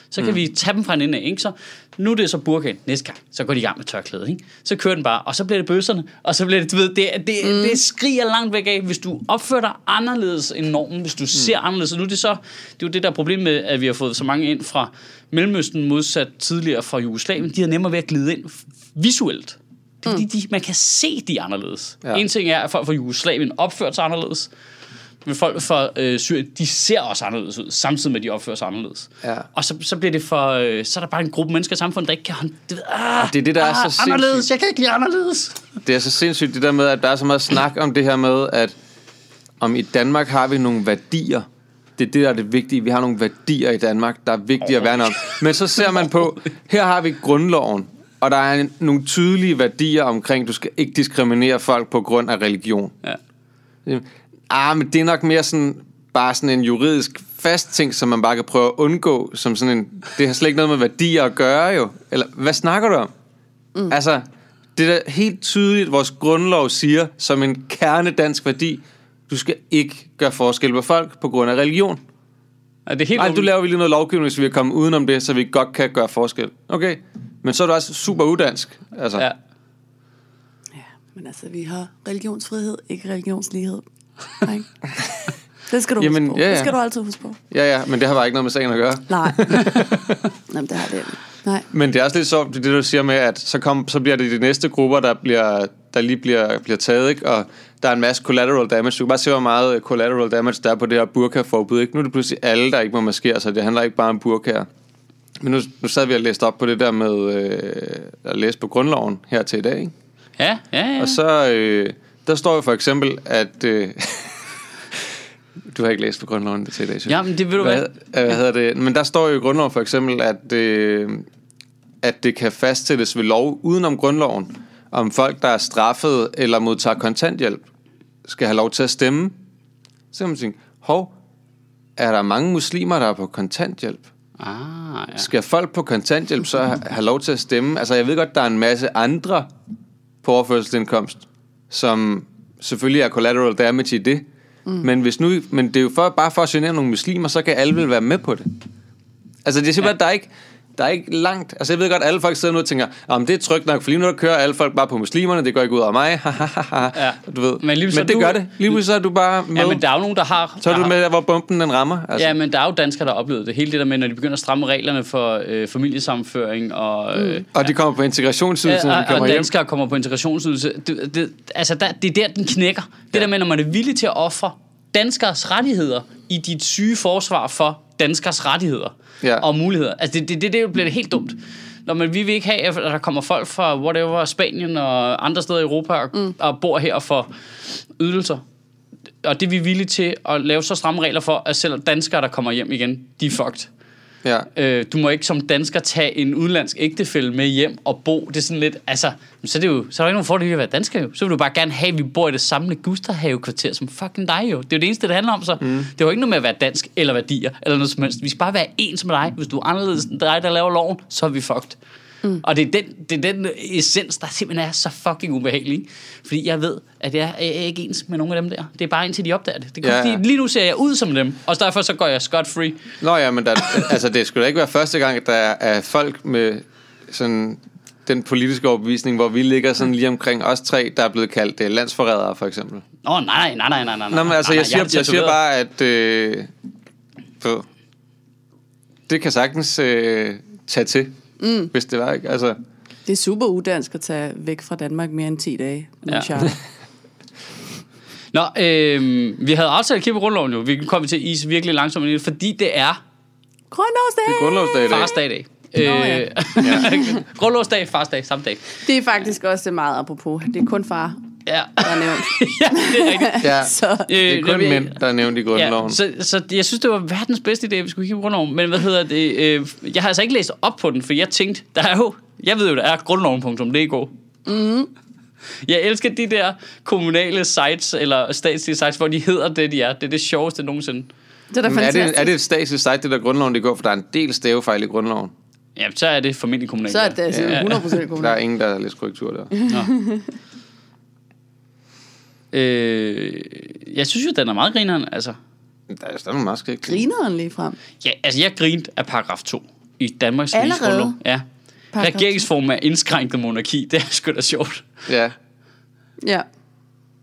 Speaker 1: Så kan mm. vi tage dem fra en ende af, ikke? Så nu er det så burkaen. Næste gang, så går de i gang med tørklæde, ikke? Så kører den bare, og så bliver det bøsserne, og så bliver det, du ved, det, det, mm. det skriger langt væk af, hvis du opfører dig anderledes end normen, hvis du mm. ser anderledes. Og nu er det så, det er jo det der problem med, at vi har fået så mange ind fra Mellemøsten, modsat tidligere fra Jugoslavien. De har nemmere ved at glide ind f- visuelt. Det er, fordi de, man kan se, de er anderledes. Mm. Ja.
Speaker 2: Ja.
Speaker 1: En ting er, at folk fra Jugoslavien opfører sig anderledes. Men folk fra øh, Syrien, de ser også anderledes ud, samtidig med, at de opfører sig anderledes.
Speaker 2: Ja.
Speaker 1: Og så, så bliver det for... Øh, så er der bare en gruppe mennesker i samfundet, der ikke kan... hånd- Det, ved, ah,
Speaker 2: det er det, der er så
Speaker 1: ah,
Speaker 2: sindssygt.
Speaker 1: anderledes. Jeg kan ikke lide anderledes.
Speaker 2: Det er så sindssygt det der med, at der er så meget snak om det her med, at om i Danmark har vi nogle værdier. Det er det, der er det vigtige. Vi har nogle værdier i Danmark, der er vigtige at værne om. Men så ser man på, her har vi grundloven, og der er en, nogle tydelige værdier omkring, du skal ikke diskriminere folk på grund af religion.
Speaker 1: Ja.
Speaker 2: Ah, men det er nok mere sådan, bare sådan en juridisk fast ting, som man bare kan prøve at undgå, som sådan en, det har slet ikke noget med værdier at gøre jo. Eller, hvad snakker du om? Mm. Altså, det er da helt tydeligt, vores grundlov siger, som en kerne dansk værdi, du skal ikke gøre forskel på folk på grund af religion.
Speaker 1: Ja, det er helt
Speaker 2: Nej, du
Speaker 1: åben-
Speaker 2: laver vi lige noget lovgivning, så vi kan komme udenom det, så vi godt kan gøre forskel. Okay, men så er du også super udansk. Altså,
Speaker 1: Ja.
Speaker 2: ja.
Speaker 3: ja. Men altså, vi har religionsfrihed, ikke religionslighed. Nej. Det skal du Jamen, huske
Speaker 2: Jamen,
Speaker 3: på.
Speaker 2: ja,
Speaker 3: Det
Speaker 2: ja.
Speaker 3: skal du altid huske på.
Speaker 2: ja, ja, men det har bare ikke noget med sagen at gøre.
Speaker 3: Nej. Jamen, det har det. ikke. Nej.
Speaker 2: Men det er også lidt sjovt, det du siger med, at så, kom, så bliver det de næste grupper, der, bliver, der lige bliver, bliver taget, ikke? og der er en masse collateral damage. Du kan bare se, hvor meget øh, collateral damage der er på det her burka-forbud. Ikke? Nu er det pludselig alle, der ikke må maskere sig. Det handler ikke bare om burkaer. Men nu, nu sad vi og læste op på det der med øh, at læse på grundloven her til i dag. Ikke?
Speaker 1: Ja, ja, ja.
Speaker 2: Og så, øh, der står jo for eksempel, at... Øh, du har ikke læst på grundloven til i dag, synes jeg.
Speaker 1: Jamen, det ved du hvad.
Speaker 2: Hvad, øh, hvad hedder det? Men der står jo i grundloven for eksempel, at, øh, at det kan fastsættes ved lov udenom grundloven, om folk, der er straffet eller modtager kontanthjælp, skal have lov til at stemme. Så kan man tænke, hov, er der mange muslimer, der er på kontanthjælp?
Speaker 1: Ah, ja.
Speaker 2: Skal folk på kontanthjælp så ha- have lov til at stemme? Altså, jeg ved godt, der er en masse andre på overførselsindkomst, som selvfølgelig er collateral damage i det. Mm. Men, hvis nu, men det er jo for, bare for at genere nogle muslimer, så kan alle vel være med på det. Altså, det er simpelthen, ja. der er ikke... Der er ikke langt. Altså, jeg ved godt, at alle folk sidder nu og tænker, om det er trygt nok, for lige nu der kører alle folk bare på muslimerne, det går ikke ud over mig. ja. Du ved.
Speaker 1: Men
Speaker 2: Men,
Speaker 1: lige så
Speaker 2: men det
Speaker 1: du-
Speaker 2: du... gør det. Lige pludselig så er du bare med.
Speaker 1: Ja, men der er jo nogen, der har...
Speaker 2: Så er
Speaker 1: der
Speaker 2: du
Speaker 1: har-
Speaker 2: med, der, hvor bomben den rammer. Altså.
Speaker 1: Ja, men der er jo danskere, der har oplevet det. Hele det der med, når de begynder at stramme reglerne for øh, familiesamføring
Speaker 2: Mm.
Speaker 1: og... Øh,
Speaker 2: Og de kommer på integrationsydelsen, når de
Speaker 1: og,
Speaker 2: kommer
Speaker 1: og
Speaker 2: hjem.
Speaker 1: danskere kommer på integrationsydelse. Det, det, altså, der, det er der, den knækker. Det der med, når man er villig til at ofre danskers rettigheder i dit syge forsvar for danskers rettigheder
Speaker 2: Ja.
Speaker 1: og muligheder. Altså, det, det, det, det bliver helt dumt. Når man, vi vil ikke have, at der kommer folk fra whatever, Spanien og andre steder i Europa og, mm. og bor her for ydelser. Og det er vi villige til at lave så stramme regler for, at selv danskere, der kommer hjem igen, de er fucked.
Speaker 2: Ja.
Speaker 1: Øh, du må ikke som dansker tage en udenlandsk ægtefælle med hjem og bo. Det er sådan lidt, altså, så er, det jo, så er der ikke nogen fordel i at være dansker jo. Så vil du bare gerne have, at vi bor i det samme Gusterhave-kvarter som fucking dig jo. Det er jo det eneste, det handler om så. Mm. Det er jo ikke noget med at være dansk eller værdier eller noget som helst. Vi skal bare være ens med dig. Hvis du er anderledes end dig, der laver loven, så er vi fucked. Mm. Og det er, den, det er den øh, essens, der simpelthen er så fucking ubehagelig. ikke? Fordi jeg ved, at jeg er ikke ens med nogen af dem der. Det er bare indtil de opdager det. det kan,
Speaker 2: Ja,
Speaker 1: ja,
Speaker 2: ja.
Speaker 1: ja. Lige nu ser jeg ud som dem, og derfor så går jeg scot-free.
Speaker 2: Nå ja, men der, altså, det skulle da ikke være første gang, at der er folk med sådan den politiske overbevisning, hvor vi ligger sådan lige omkring os tre, der er blevet kaldt uh, landsforrædere, for eksempel.
Speaker 1: Nå, nej, nej, nej, nej, nej.
Speaker 2: Nå, men altså,
Speaker 1: nej,
Speaker 2: jeg siger,
Speaker 1: Ah, er
Speaker 2: jeg siger
Speaker 1: tatoveret.
Speaker 2: bare, at øh, ved, det kan sagtens øh, tage til, mm. hvis det var, ikke? Altså,
Speaker 3: Det er super udansk at tage væk fra Danmark mere end 10 dage.
Speaker 1: Ja.
Speaker 3: Ja.
Speaker 1: Nå, øh, vi havde aftalt at kigge på grundloven jo. Vi kom til is virkelig langsomt ind i det, fordi det er
Speaker 3: Grundlovsdag!
Speaker 2: det er grundlovsdag i dag.
Speaker 1: fars dag i dag. Øh,
Speaker 3: ja.
Speaker 1: grundlovsdag, fars dag, samme dag.
Speaker 3: Det er faktisk også meget apropos. Det er kun far,
Speaker 1: Ja,
Speaker 3: der er nævnt.
Speaker 1: ja det er rigtigt.
Speaker 2: Ja,
Speaker 3: Så
Speaker 2: det er
Speaker 1: når
Speaker 2: kun
Speaker 1: vi-
Speaker 2: mænd, der er nævnt i grundloven.
Speaker 1: Øh, Ja, så, så jeg synes, det var verdens bedste idé, at vi skulle kigge på grundloven. Men hvad hedder det? Øh, jeg har altså ikke læst op på den, for jeg tænkte, der er jo, jeg ved jo, der er grundloven.dk. Mm.
Speaker 3: Mm-hmm.
Speaker 1: Jeg elsker de der kommunale sites, eller statslige sites, hvor de hedder det, de er. Det er det sjoveste nogensinde.
Speaker 3: det er da
Speaker 2: Men er
Speaker 3: fantastisk.
Speaker 2: det, er det et statsligt site, det der grundloven, det går, for der er en del stavefejl i grundloven.
Speaker 1: Ja, så er det formentlig kommunalt.
Speaker 3: Så er
Speaker 1: ja.
Speaker 3: det altså 100%
Speaker 2: Der er
Speaker 3: kommunalt.
Speaker 2: ingen, der har læst korrektur der.
Speaker 1: Øh, jeg synes jo, den er meget grineren. Altså.
Speaker 2: Der er stadig meget skægt.
Speaker 3: Grineren lige frem.
Speaker 1: Ja, altså, jeg grinte af paragraf 2 i Danmarks Riges
Speaker 3: Allerede?
Speaker 1: Grundlov. Ja.
Speaker 3: Paragraf to?
Speaker 1: Regeringsformen er indskrænket monarki. Det er sgu da sjovt.
Speaker 2: Ja.
Speaker 3: Ja.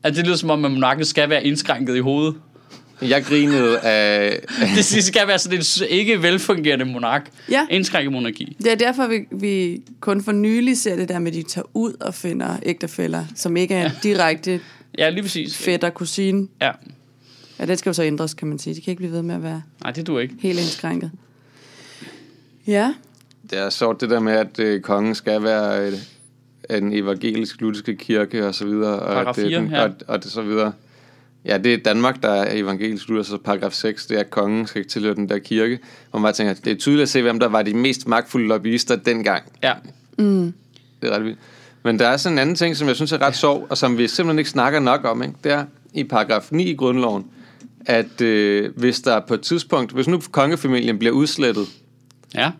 Speaker 1: Altså, det lyder som om, at monarken skal være indskrænket i hovedet.
Speaker 2: Jeg grinede af...
Speaker 1: Det det skal være sådan en s- ikke velfungerende monark.
Speaker 3: Ja.
Speaker 1: Indskrænket monarki.
Speaker 3: Det er derfor, vi, vi kun for nylig ser det der med, at de tager ud og finder ægtefælder, som ikke er direkte
Speaker 1: Ja, lige præcis.
Speaker 3: fætter kusine.
Speaker 1: Ja.
Speaker 3: Ja, det skal jo så ændres, kan man sige. Det kan ikke blive ved med at være
Speaker 1: Nej, det du ikke.
Speaker 3: helt indskrænket. Ja,
Speaker 2: Det er sjovt det der med, at øh, kongen skal være et, en evangelisk lutherske kirke og så videre. Og
Speaker 1: Paragraf
Speaker 2: at det, er
Speaker 1: fire,
Speaker 2: den,
Speaker 1: ja.
Speaker 2: og, og det så videre. Ja, det er Danmark, der er evangelisk luthersk, så paragraf 6, det er, at kongen skal ikke tilhøre den der kirke. Og man bare tænker, det er tydeligt at se, hvem der var de mest magtfulde lobbyister dengang.
Speaker 1: Ja.
Speaker 2: Det er ret vildt. Men der er sådan en anden ting, som jeg synes er ret sjov, og som vi simpelthen ikke snakker nok om. Ikke? Det er i paragraf 9 i grundloven, at øh, hvis der på et tidspunkt, hvis nu kongefamilien bliver udslettet,
Speaker 1: Ja.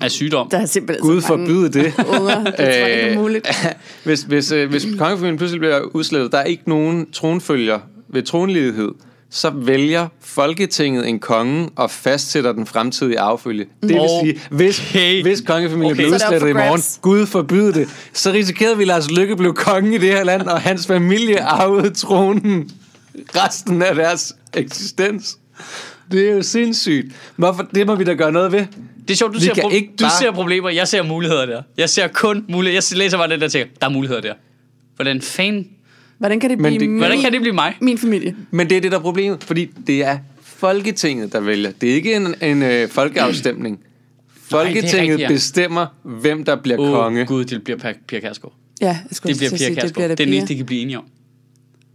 Speaker 1: Af sygdom.
Speaker 3: der er simpelthen
Speaker 2: Gud
Speaker 3: så mange
Speaker 2: forbyde det.
Speaker 3: unger. Det tror jeg ikke er
Speaker 2: Øh,
Speaker 3: muligt.
Speaker 2: hvis, hvis, øh, hvis kongefamilien pludselig bliver udslettet, der er ikke nogen tronfølger ved tronledighed, så vælger Folketinget en konge og fastsætter den fremtidige arvefølge. Det vil
Speaker 3: Mm.
Speaker 1: Okay.
Speaker 2: sige, hvis, hvis kongefamilien
Speaker 1: Okay.
Speaker 2: okay. blev
Speaker 1: Så
Speaker 3: er det op
Speaker 2: udslettet i
Speaker 3: for
Speaker 2: morgen,
Speaker 3: grabs.
Speaker 2: Gud forbyde det, så risikerede vi, at Lars Lykke blev konge i det her land, og hans familie arvede tronen resten af deres eksistens. Det er jo sindssygt. Hvorfor, det må vi da gøre noget ved.
Speaker 1: Det er sjovt, du,
Speaker 2: Vi
Speaker 1: ser,
Speaker 2: kan
Speaker 1: pro-
Speaker 2: ikke
Speaker 1: du
Speaker 2: bare-
Speaker 1: ser problemer, jeg ser muligheder der. Jeg ser kun muligheder. Jeg læser bare det der og tænker, der er muligheder der. Hvordan fanden?
Speaker 3: Hvordan kan det
Speaker 2: Men
Speaker 3: blive
Speaker 2: det-
Speaker 3: min,
Speaker 1: Hvordan kan det blive mig?
Speaker 3: min familie?
Speaker 2: Men det er det, der er problemet, fordi det er Folketinget, der vælger. Det er ikke en, en øh, folkeafstemning. Folketinget Nej,
Speaker 1: rigtigt,
Speaker 2: rigtigt,
Speaker 1: ja.
Speaker 2: ja. bestemmer, hvem der bliver
Speaker 1: Åh,
Speaker 2: oh, konge
Speaker 1: gud, det bliver Per- Pia Kærsgaard.
Speaker 3: Ja, jeg skulle
Speaker 1: Det
Speaker 3: også til
Speaker 1: bliver
Speaker 3: at
Speaker 1: Pia
Speaker 3: sige, det bliver
Speaker 1: Kærsgaard.
Speaker 3: det
Speaker 1: Det er den eneste,
Speaker 3: Pia.
Speaker 1: de kan blive enige om.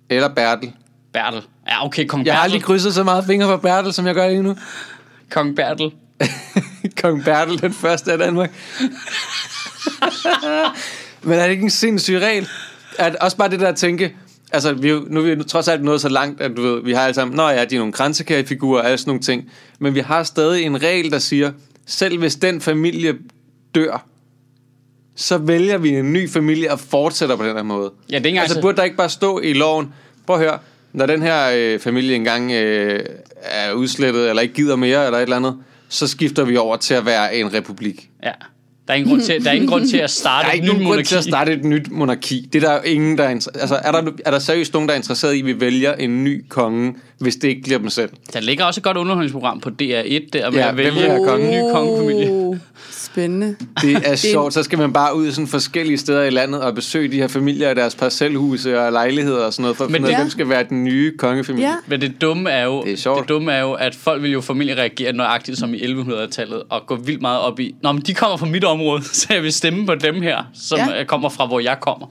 Speaker 2: eller Bertel.
Speaker 1: Bertel. Ja, okay, kong
Speaker 2: Jeg har
Speaker 1: Bertel.
Speaker 2: aldrig krydset så meget fingre for Bertel, som jeg gør lige nu.
Speaker 1: Kong Bertel.
Speaker 2: Kong Bertel, den første af Danmark. Men er det ikke en sindssyg regel? At også bare det der at tænke, altså vi, er jo- nu er vi jo trods alt nået så langt, at du ved, vi har alle sammen, nå ja, de er nogle kransekærefigurer og alle sådan nogle ting, men vi har stadig en regel, der siger, selv hvis den familie dør, så vælger vi en ny familie og fortsætter på den her måde.
Speaker 1: Ja, det er ikke engang
Speaker 2: altså,
Speaker 1: så-
Speaker 2: burde der ikke bare stå i loven, prøv at høre, når den her øh, familie engang øh, er udslettet, eller ikke gider mere, eller et eller andet, så skifter vi over til at være en republik.
Speaker 1: Ja. Der er ingen grund til, der er ingen grund til at starte
Speaker 2: Der er
Speaker 1: et
Speaker 2: ikke
Speaker 1: nyt
Speaker 2: nogen grund
Speaker 1: monarki.
Speaker 2: til at starte et nyt monarki. Det er der jo ingen, der er inter- Altså, er der, er der seriøst nogen, der er interesseret i, at vi vælger en ny konge, hvis det ikke bliver dem selv?
Speaker 1: Der ligger også et godt underholdningsprogram på DR1, der med
Speaker 2: Ja,
Speaker 1: at
Speaker 2: hvem vil
Speaker 1: vælge
Speaker 2: være konge?
Speaker 1: en ny kongefamilie.
Speaker 3: Oh, spændende.
Speaker 2: Det er sjovt. Så skal man bare ud sådan forskellige steder i landet og besøge de her familier i deres parcelhuse og lejligheder og sådan noget, for at
Speaker 1: Men
Speaker 2: finde ud af,
Speaker 3: det-
Speaker 2: hvem skal være den nye kongefamilie.
Speaker 3: Ja.
Speaker 1: Men det dumme er jo,
Speaker 2: Det er sjovt.
Speaker 1: det dumme er jo at folk vil jo formentlig reagere nøjagtigt som i 1100-tallet og gå vildt meget op i, Nå, men de kommer fra mit område, så jeg vil stemme på dem her, som
Speaker 3: Ja.
Speaker 1: ja. kommer fra, hvor jeg kommer.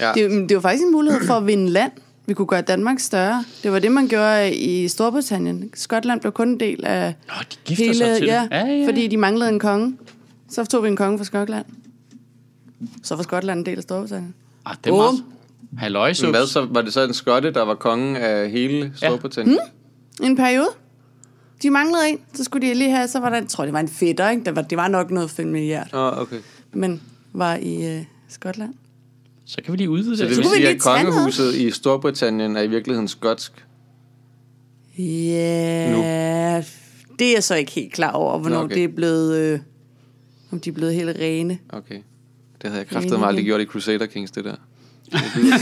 Speaker 2: Ja.
Speaker 3: Det, er jo- det er jo faktisk en mulighed for at vinde land. Vi kunne gøre Danmark større. Det var det, man gjorde i Storbritannien. Skotland blev kun en del af
Speaker 1: Nå, de gifter sig til det.
Speaker 3: ja,
Speaker 1: Ja, ja, ja.
Speaker 3: fordi de manglede en konge. Så tog vi en konge fra Skotland. Så var Skotland en del af Storbritannien.
Speaker 1: Ah, det er meget... Halløj,
Speaker 2: Men Hvad
Speaker 1: Subs.
Speaker 2: så? Var det så en skotte, der var konge af hele Storbritannien?
Speaker 3: I En periode. De manglede en, så skulle de lige have, så var der, jeg tror, det var en fætter, ikke? Det var, det var nok noget 5 milliard,
Speaker 2: Mm? Oh, okay.
Speaker 3: men var i øh, Skotland.
Speaker 1: Så kan vi lige udvide det.
Speaker 2: Så det
Speaker 1: til-
Speaker 2: vil
Speaker 3: kunne vi
Speaker 2: sige,
Speaker 3: lige
Speaker 2: at
Speaker 3: tage noget.
Speaker 2: kongehuset i Storbritannien er i virkeligheden skotsk.
Speaker 3: Ja, det er jeg så ikke helt klar over, hvornår
Speaker 2: okay.
Speaker 3: okay. det er blevet, øh, om de er blevet helt rene.
Speaker 2: Okay. Det havde jeg kræftet mig aldrig gjort i Crusader Kings, det der. Det lyder,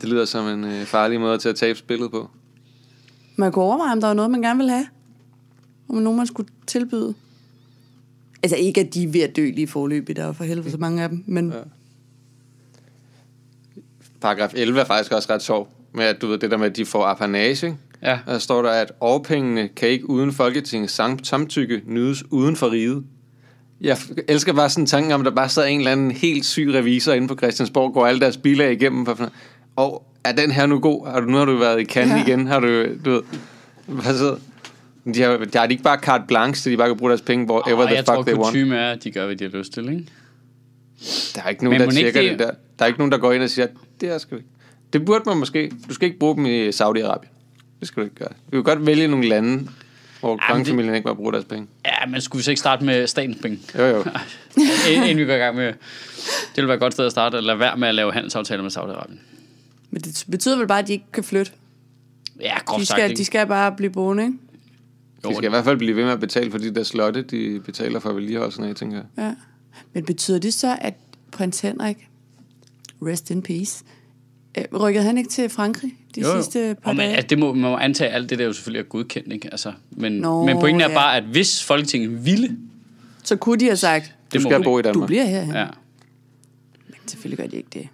Speaker 2: det lyder som en øh, farlig måde til at tabe spillet på.
Speaker 3: Man kunne overveje, om der var noget, man gerne ville have. Om nogen, man skulle tilbyde. Altså ikke, at de er ved at dø lige forløbig, der er jo for helvede så mange af dem, men ja.
Speaker 2: Paragraf 11 er faktisk også ret sjov. Med at du ved det der med, at de får apanage. ikke?
Speaker 1: Ja.
Speaker 2: Og Der står der, at overpengene kan ikke uden Folketingets sam- samtykke nydes uden for riget. Jeg f- elsker bare sådan tanken om, at der bare sad en eller anden helt syg revisor inde på Christiansborg, går alle deres biler igennem. For, og er den her nu god? Har du, nu har du været i Cannes
Speaker 3: Ja.
Speaker 2: ja. igen. Har du, du ved, hvad så? De har, der har de ikke bare carte blanche, så de bare kan bruge deres penge, hvor ever
Speaker 1: Ah,
Speaker 2: the
Speaker 1: jeg tror,
Speaker 2: fuck they want.
Speaker 1: kutume er, at de gør, hvad de har lyst til, ikke?
Speaker 2: Der er ikke nogen,
Speaker 1: Men
Speaker 2: der
Speaker 1: mon ikke
Speaker 2: tjekker det...
Speaker 1: det-
Speaker 2: der. Der er ikke nogen, der går ind og siger, det her skal vi ikke. Det burde man måske. Du skal ikke bruge dem i Saudi-Arabien. Det skal du ikke gøre. Vi kan godt vælge nogle lande, hvor kongefamilien ikke må bruge deres penge.
Speaker 1: Ja, men skulle vi så ikke starte med statens penge?
Speaker 2: Jo, jo.
Speaker 1: Ind- Inden vi går i gang med... Det ville være et godt sted at starte, at lade være med at lave handelsaftaler med Saudi-Arabien.
Speaker 3: men det betyder vel bare, at de ikke kan flytte.
Speaker 1: Ja, groft
Speaker 3: De
Speaker 1: sagt,
Speaker 3: skal,
Speaker 1: ikke?
Speaker 3: de skal bare blive boende, ikke?
Speaker 2: De skal i hvert fald blive ved med at betale for de der slotte, de betaler for vedligeholdelsen af, tænker jeg.
Speaker 3: Ja. Men betyder det så, at prins Henrik, rest in peace, øh, rykkede han ikke til Frankrig de jo, jo. sidste par
Speaker 1: Og man,
Speaker 3: dage?
Speaker 1: altså, det må, man må antage, at alt det der jo selvfølgelig er godkendt, ikke? Altså, men,
Speaker 3: Nå,
Speaker 1: men pointen er
Speaker 3: ja.
Speaker 1: bare, at hvis Folketinget ville...
Speaker 3: Så kunne de have sagt,
Speaker 2: Du
Speaker 1: Det må
Speaker 2: skal
Speaker 1: hun
Speaker 2: bo i
Speaker 3: du
Speaker 2: Danmark.
Speaker 3: bliver her. Ja.
Speaker 1: Ja.
Speaker 3: Men selvfølgelig gør de ikke det.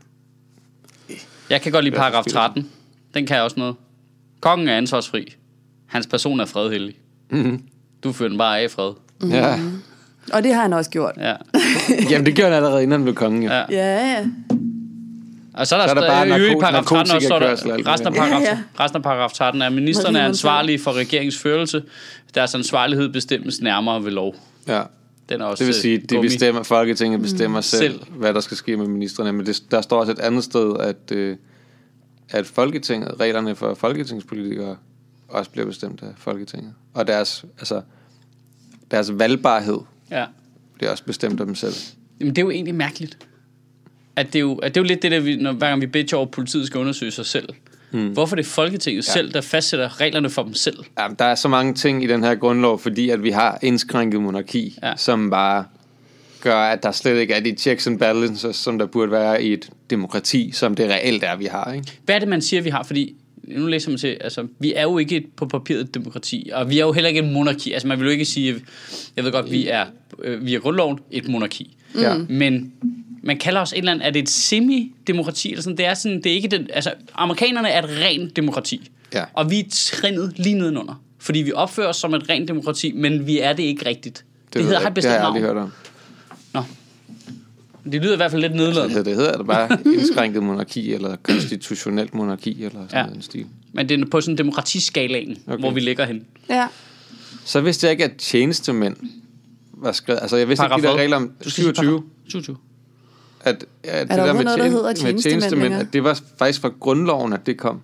Speaker 1: Jeg kan godt lide
Speaker 2: Ja,
Speaker 1: paragraf
Speaker 2: selvfølgelig.
Speaker 1: 13. Den kan jeg også noget. Kongen er ansvarsfri. Hans person er fredhellig. Mm-hmm.
Speaker 2: Mhm.
Speaker 1: Du fører den bare af i fred.
Speaker 2: Ja.
Speaker 3: Og det har han også gjort.
Speaker 1: Ja.
Speaker 2: Jamen, det gjorde han allerede, inden han blev konge. Jo.
Speaker 1: Ja.
Speaker 2: Ja.
Speaker 3: Ja, ja.
Speaker 1: Og så er der,
Speaker 2: Så er der bare
Speaker 1: i øvrigt
Speaker 2: narko-
Speaker 1: paragraf 13 også, står
Speaker 2: narkotikakørsel og alt
Speaker 1: der,
Speaker 2: muligt
Speaker 1: resten, af
Speaker 2: andet.
Speaker 1: paragraf,
Speaker 3: Ja,
Speaker 1: ja,
Speaker 3: ja.
Speaker 1: resten af paragraf 13 er, at ministerne
Speaker 3: Marie,
Speaker 1: er
Speaker 3: man
Speaker 1: ansvarlige for regeringens førelse. Deres ansvarlighed bestemmes nærmere ved lov.
Speaker 2: ja.
Speaker 1: Den er også
Speaker 2: Det vil sige,
Speaker 1: øh,
Speaker 2: de
Speaker 1: gummi. Mm.
Speaker 2: bestemmer, Folketinget bestemmer selv,
Speaker 1: Selv.
Speaker 2: hvad der skal ske med ministerne. Men det, der står også et andet sted, at, øh, at Folketinget, reglerne for folketingspolitikere også bliver bestemt af Folketinget. Og deres, altså, deres valgbarhed
Speaker 1: Ja.
Speaker 2: bliver også bestemt af dem selv.
Speaker 1: Jamen, det er jo egentlig mærkeligt. At det er jo, at det er jo lidt det der, vi, når, hver gang vi bitcher over, at politiet skal undersøge sig selv.
Speaker 2: Hmm.
Speaker 1: Mm. Hvorfor er det Folketinget ja. selv, der fastsætter reglerne for dem selv?
Speaker 2: Jamen, der er så mange ting i den her grundlov, fordi at vi har indskrænket monarki,
Speaker 1: Ja.
Speaker 2: ja. som bare gør, at der slet ikke er de checks and balances, som der burde være i et demokrati, som det reelt er, vi har. Ikke?
Speaker 1: Hvad er det, man siger, vi har? Fordi nu læser man til, altså, vi er jo ikke et, på papiret et demokrati, og vi er jo heller ikke et monarki. Altså, man vil jo ikke sige, jeg ved godt, vi er, øh, vi er grundloven et monarki. Mm.
Speaker 2: Ja.
Speaker 1: Men man kalder os et eller andet, er det et semi-demokrati, eller sådan, det er sådan, det er ikke den, altså, amerikanerne er et rent demokrati.
Speaker 2: Ja.
Speaker 1: Og vi er trinnet lige nedenunder, fordi vi opfører os som et rent demokrati, men vi er det ikke rigtigt. Det, det
Speaker 2: ved
Speaker 1: hedder,
Speaker 2: jeg
Speaker 1: har et
Speaker 2: ikke.
Speaker 1: bestemt
Speaker 2: det har jeg aldrig
Speaker 1: navn.
Speaker 2: hørt om.
Speaker 1: Nå. Det lyder i hvert fald lidt
Speaker 2: Det
Speaker 1: nedladende.
Speaker 2: hedder, det hedder det bare indskrænket monarki, eller konstitutionelt monarki, eller sådan
Speaker 1: Ja.
Speaker 2: ja. en stil.
Speaker 1: Men det er på sådan demokratiskalaen, okay.
Speaker 2: Okay.
Speaker 1: hvor vi ligger hen.
Speaker 3: Ja.
Speaker 2: Så vidste jeg ikke, at tjenestemænd var skrevet... Altså, jeg vidste ikke de
Speaker 1: Paragraf
Speaker 2: der
Speaker 1: hvad?
Speaker 2: regler om
Speaker 1: Du skal sige
Speaker 2: 27,
Speaker 1: paragraf 27.
Speaker 2: at, at det
Speaker 3: der
Speaker 2: der
Speaker 3: overhovedet
Speaker 2: med,
Speaker 3: noget, der hedder
Speaker 2: tjen- med
Speaker 3: tjenestemænd
Speaker 2: tjenestemænd,
Speaker 3: længere?
Speaker 2: at det var faktisk fra grundloven, at det kom.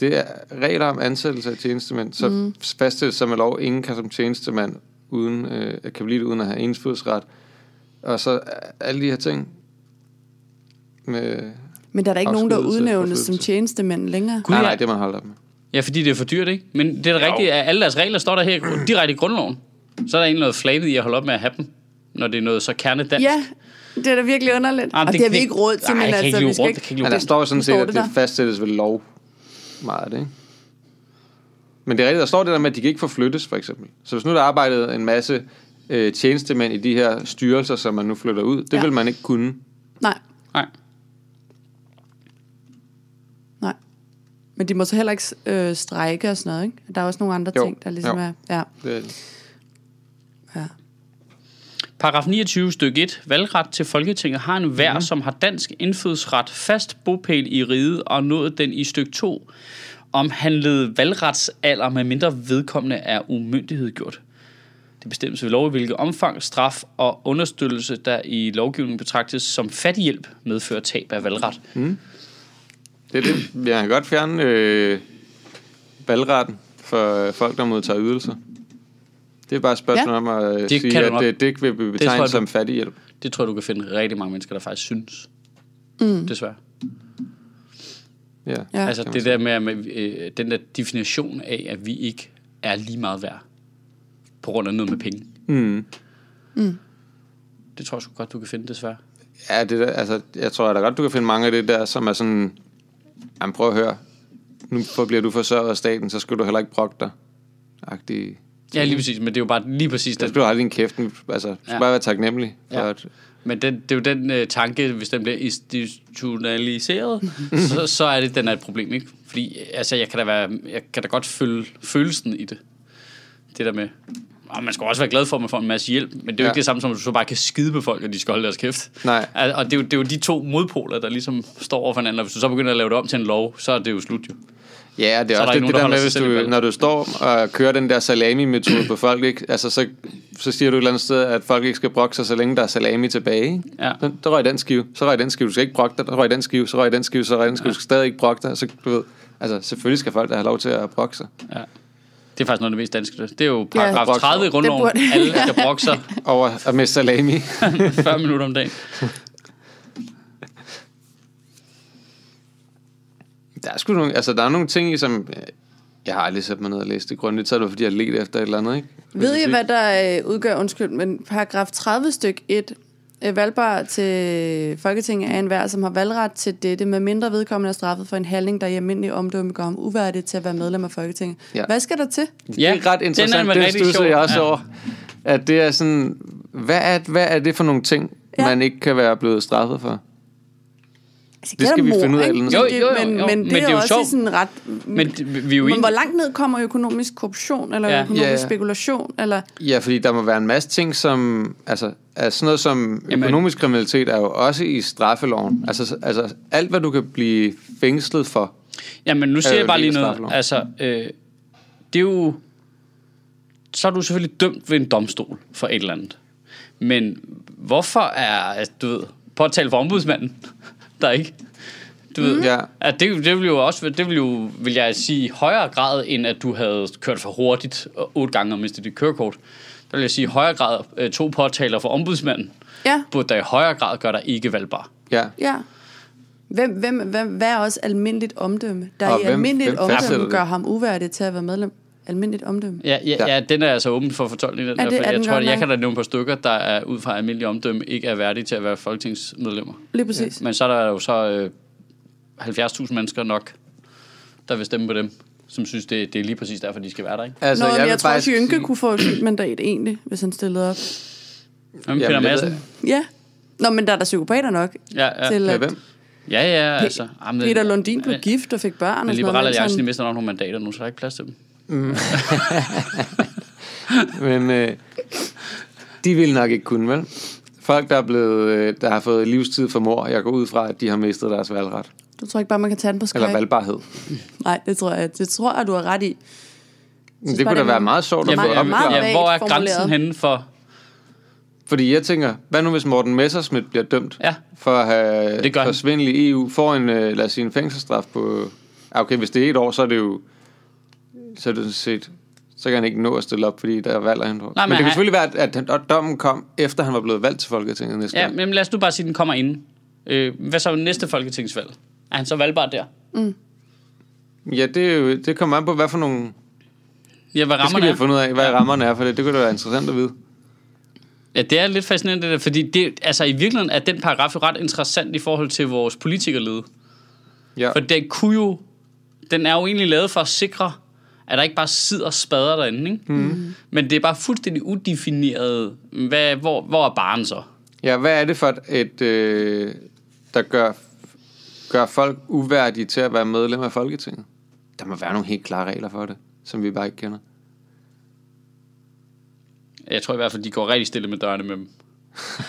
Speaker 2: Det er regler om ansættelse af tjenestemænd, så mm. fastsættes som med lov, ingen kan som tjenestemand uden, øh, kan blive det uden at have indflydelsesret. Og så øh, alle de her ting med...
Speaker 3: Men der er der ikke nogen, der
Speaker 2: Afskedigelse,
Speaker 3: udnævnes som
Speaker 2: forflyttelse.
Speaker 3: tjenestemænd længere.
Speaker 1: Gud,
Speaker 2: Nej, nej,
Speaker 1: ja.
Speaker 2: det man holder op med.
Speaker 1: Ja, fordi det er for dyrt, ikke? Men det er da rigtigt, at alle deres regler står der her i gru- direkte i grundloven. Så er der egentlig noget flabet i at holde op med at have dem, når det er noget så kernedansk.
Speaker 3: Ja, det er da virkelig underligt.
Speaker 1: Ah,
Speaker 3: Og det har vi ikke råd
Speaker 1: nej,
Speaker 3: til, men
Speaker 1: jeg kan
Speaker 3: altså,
Speaker 1: ikke
Speaker 3: vi
Speaker 1: løbe
Speaker 3: skal
Speaker 1: rundt, jeg
Speaker 3: ikke...
Speaker 1: kan ikke
Speaker 2: Men
Speaker 1: løbe
Speaker 2: der
Speaker 1: rundt.
Speaker 2: står jo sådan set,
Speaker 3: Står
Speaker 2: at
Speaker 3: det
Speaker 2: det
Speaker 3: der?
Speaker 2: fastsættes ved lov meget af det, ikke? Men det er rigtigt, der står det der med, at de kan ikke forflyttes, for eksempel. Så hvis nu der arbejdede en masse øh, tjenestemænd i de her styrelser, som man nu flytter ud, det
Speaker 3: Ja.
Speaker 2: ja. vil man ikke kunne.
Speaker 3: Nej,
Speaker 1: Nej.
Speaker 3: nej. Men de må så heller ikke øh, strejke og sådan noget, ikke? Der er også nogle andre
Speaker 2: Jo,
Speaker 3: ting, der ligesom
Speaker 2: jo.
Speaker 3: er... Ja,
Speaker 2: Det,
Speaker 3: ja.
Speaker 1: Paragraf 29 stykke 1. Valgret til Folketinget har en vær, mm. som har dansk indfødsret, fast bopæl i riget og nået den i stykke 2, om han led valgretsalder, med mindre vedkommende er umyndighed gjort. Det bestemmes ved lov, i hvilket omfang, straf og understøttelse, der i lovgivningen betragtes som fattighjælp, medfører tab af valgret. Mm.
Speaker 2: det er det. Vi kan godt fjerne øh, valgretten for øh, folk, der modtager ydelser. Det er bare et spørgsmål
Speaker 3: Ja.
Speaker 2: ja. om at øh,
Speaker 1: Det kan
Speaker 2: sige,
Speaker 1: du
Speaker 2: at
Speaker 1: nok.
Speaker 2: det, det ikke vil blive betegnet
Speaker 1: jeg, du-
Speaker 2: som fattighjælp.
Speaker 1: Det tror jeg, du kan finde rigtig mange mennesker, der faktisk synes. Mm. Desværre.
Speaker 2: Ja.
Speaker 3: Ja.
Speaker 1: Altså
Speaker 2: kan man
Speaker 1: det der med, med øh, den der definition af, at vi ikke er lige meget værd på grund af noget med penge.
Speaker 2: Mm.
Speaker 1: Det tror jeg sgu godt, du kan finde, desværre.
Speaker 2: Ja, det der, altså, jeg tror da godt, du kan finde mange af det der, som er sådan... Jamen, prøv at høre. Nu for- bliver du forsørget af staten, så skal du heller ikke brokke dig. Agtig.
Speaker 1: Ja, lige præcis, men det er jo bare lige præcis
Speaker 2: Der
Speaker 1: den.
Speaker 2: skal du holde din kæft. Nu- Altså, du skal
Speaker 1: Ja.
Speaker 2: ja. bare være taknemmelig. For
Speaker 1: Ja.
Speaker 2: ja. at,
Speaker 1: Men den, det er jo den øh, tanke, hvis den bliver institutionaliseret, så, så er det, den er et problem, ikke? Fordi altså, jeg, kan da være, jeg kan da godt føle følelsen i det. Det der med, og man skal også være glad for, at man får en masse hjælp, men det er jo
Speaker 2: Ja.
Speaker 1: ikke det samme som, at du så bare kan skide på folk, og de skal holde deres kæft.
Speaker 2: Nej.
Speaker 1: Al- Og det er, jo, det er jo de to modpoler, der ligesom står over for hinanden, og hvis du så begynder at lave det om til en lov, så er det jo slut jo.
Speaker 2: ja, og det er
Speaker 1: Så er der ikke
Speaker 2: også det, det
Speaker 1: nogen, der
Speaker 2: der med,
Speaker 1: holder sig
Speaker 2: hvis
Speaker 1: selv i
Speaker 2: du,
Speaker 1: bag.
Speaker 2: når du står og kører den der salami-metode på folk, ikke? Altså, så, så siger du et eller andet sted, at folk ikke skal brokke sig, så længe der er salami tilbage. Ikke?
Speaker 1: Ja.
Speaker 2: Så, der røg den skive, så røg den skive, du skal ikke brokke dig, der røg den skive, så røg den skive, så røg den skive, du skal stadig ikke brokke dig. Så, du ved, altså, selvfølgelig skal folk da have lov til at brokke sig.
Speaker 1: Ja. Det er faktisk noget af det mest danske. Det er jo paragraf
Speaker 2: brokke sig.
Speaker 1: 30 i grundloven.
Speaker 3: Det burde-
Speaker 1: Alle skal brokke sig
Speaker 2: Over at miste salami.
Speaker 1: 40 minutter om dagen.
Speaker 2: Der er sgu nogle, altså der er nogle ting i, som øh, jeg har aldrig sat mig ned og læst det grundigt, så er det fordi, jeg ledte efter et eller andet, ikke?
Speaker 3: Ved I, hvad der øh, udgør, undskyld, men paragraf 30 styk 1, øh, valgbar til Folketinget er enhver, som har valgret til dette, med mindre vedkommende er straffet for en handling, der i almindelig omdømme gør ham uværdig til at være medlem af Folketinget. Ja.
Speaker 2: Ja.
Speaker 3: Hvad skal der til? Altså,
Speaker 1: Ja,
Speaker 2: Ja, det er ret
Speaker 1: den er
Speaker 2: interessant,
Speaker 1: vel
Speaker 2: den, den
Speaker 1: rigtig
Speaker 2: studser
Speaker 1: sjov,
Speaker 2: jeg også
Speaker 1: ja.
Speaker 2: ja. over. At det er sådan, hvad er, hvad er det for nogle ting,
Speaker 3: Ja.
Speaker 2: ja. man ikke kan være blevet straffet for?
Speaker 3: Altså,
Speaker 2: Det skal vi finde ud af, eller
Speaker 3: Men,
Speaker 2: noget
Speaker 1: sådan. Jo, jo, jo,
Speaker 3: men,
Speaker 1: jo.
Speaker 3: men, det er, jo også
Speaker 1: sjovt.
Speaker 3: sjovt. sådan ret...
Speaker 1: Men det- vi er jo
Speaker 3: men
Speaker 1: enige.
Speaker 3: hvor langt ned kommer økonomisk korruption, eller
Speaker 1: Ja.
Speaker 3: ja. økonomisk
Speaker 2: Ja,
Speaker 3: ja,
Speaker 2: ja.
Speaker 3: spekulation, eller...
Speaker 2: Ja, fordi der må være en masse ting, som... Altså, er sådan noget som
Speaker 1: Jamen-
Speaker 2: økonomisk kriminalitet er jo også i straffeloven. Altså, altså alt, hvad du kan blive fængslet for.
Speaker 1: Jamen, nu siger
Speaker 2: jo
Speaker 1: jeg bare
Speaker 2: en
Speaker 1: lige
Speaker 2: del af
Speaker 1: noget.
Speaker 2: straffeloven.
Speaker 1: Altså, øh, det er jo... Så er du selvfølgelig dømt ved en domstol for et eller andet. Men hvorfor er, altså, du ved, påtale for ombudsmanden, der ikke... Du ved,
Speaker 2: Ja.
Speaker 1: at det, det ville jo også, det ville jo, vil jeg sige, i højere grad, end at du havde kørt for hurtigt og otte gange og mistet dit kørekort. Der vil jeg sige, i højere grad, øh, to påtaler for ombudsmanden,
Speaker 3: Ja,
Speaker 1: burde der i højere grad gøre dig ikke valgbar.
Speaker 2: Ja.
Speaker 3: ja. Hvem, hvem, hvem, hvad er også almindeligt omdømme? Der
Speaker 2: Og
Speaker 3: i
Speaker 2: hvem-
Speaker 3: almindeligt
Speaker 2: hvem
Speaker 3: omdømme
Speaker 2: fastsætter det?
Speaker 3: gør ham uværdig til at være medlem. Almindeligt omdømme.
Speaker 1: Ja, ja, ja.
Speaker 2: Ja.
Speaker 1: ja, den er altså åben for fortolkning. Den
Speaker 3: Er
Speaker 1: er
Speaker 3: det-
Speaker 1: det,
Speaker 3: er
Speaker 1: jeg
Speaker 3: den
Speaker 1: tror,
Speaker 3: godt
Speaker 1: at jeg
Speaker 3: nok?
Speaker 1: kan da nævne et par stykker, der er ud fra almindelig omdømme ikke er værdige til at være folketingsmedlemmer.
Speaker 3: Lige præcis.
Speaker 1: Men så er der jo så øh, 70.000 mennesker nok, der vil stemme på dem, som synes, det, det er lige præcis derfor, de skal være der, ikke?
Speaker 3: Altså,
Speaker 2: Altså,
Speaker 3: Nå, jeg,
Speaker 2: vil
Speaker 3: jeg tror, at
Speaker 2: faktisk
Speaker 3: Jynke
Speaker 2: sige-
Speaker 3: kunne få et sygt mandat egentlig, hvis han stillede op.
Speaker 1: Jamen, Peter
Speaker 2: Jamen, det ved
Speaker 1: Madsen.
Speaker 2: jeg.
Speaker 3: Ja. Nå, men der er da psykopater nok.
Speaker 1: Ja, ja.
Speaker 3: Til,
Speaker 2: Ja,
Speaker 3: at
Speaker 2: hvem?
Speaker 1: ja, ja, altså. Jamen,
Speaker 3: Peter Lundin blev
Speaker 1: men-
Speaker 3: gift og fik børn.
Speaker 1: Men
Speaker 3: og sådan noget,
Speaker 1: Liberale Alliance, de
Speaker 3: sådan-
Speaker 1: mister nok nogle mandater nu, så der er ikke plads til dem.
Speaker 2: Men øh, de vil nok ikke kunne, vel? Folk, der, er blevet, øh, der har fået livstid for mor, jeg går ud fra, at de har mistet deres valgret.
Speaker 3: Du tror ikke bare, man kan tage den på Skype?
Speaker 2: Eller valgbarhed.
Speaker 3: Nej, det tror jeg, det tror jeg, du har ret i.
Speaker 2: Det,
Speaker 3: bare,
Speaker 2: kunne da
Speaker 3: det er
Speaker 2: være meget sjovt at
Speaker 3: meget-
Speaker 2: få
Speaker 3: meget
Speaker 2: opklaret.
Speaker 3: vagt
Speaker 1: ja, hvor er
Speaker 3: formuleret.
Speaker 1: grænsen henne for...
Speaker 2: Fordi jeg tænker, hvad nu hvis Morten Messerschmidt bliver dømt
Speaker 1: Ja.
Speaker 2: for at have
Speaker 1: Det gør han.
Speaker 2: for svindel i EU, får en, øh, lad os sige, en fængselsstraf på... Ah, Okay, hvis det er et år, så er det jo... Så er det sådan set... Så kan han ikke nå at stille op, fordi der er valg af hende. Men, men det
Speaker 1: men
Speaker 2: kan
Speaker 1: han-
Speaker 2: selvfølgelig være, at, at, han- at dommen kom, efter han var blevet valgt til Folketinget næste
Speaker 1: Ja,
Speaker 2: gang.
Speaker 1: men lad os nu bare sige, at den kommer inden. Øh, hvad så næste folketingsvalg? Er han så valgbar der?
Speaker 2: Ja, det, er jo- det kommer an på, hvad for nogle...
Speaker 1: Ja, hvad
Speaker 2: Det skal
Speaker 1: rammerne
Speaker 2: vi
Speaker 1: er.
Speaker 2: have fundet ud af, hvad rammerne er for det. Det kunne da være interessant at vide.
Speaker 1: Ja, det er lidt fascinerende, det der, fordi det, altså, i virkeligheden er den paragraf jo ret interessant i forhold til vores politikerlede.
Speaker 2: Ja.
Speaker 1: For den kunne jo, den er jo egentlig lavet for at sikre, at der ikke bare sidder spader derinde, ikke? Mm. Men det er bare fuldstændig udefineret, hvad, hvor, hvor er barnet så?
Speaker 2: ja, hvad er det for et, et øh, der gør, gør folk uværdige til at være medlem af Folketinget? Der må være nogle helt klare regler for det, som vi bare ikke kender.
Speaker 1: Jeg tror i hvert fald, de går rigtig stille med dørene med dem.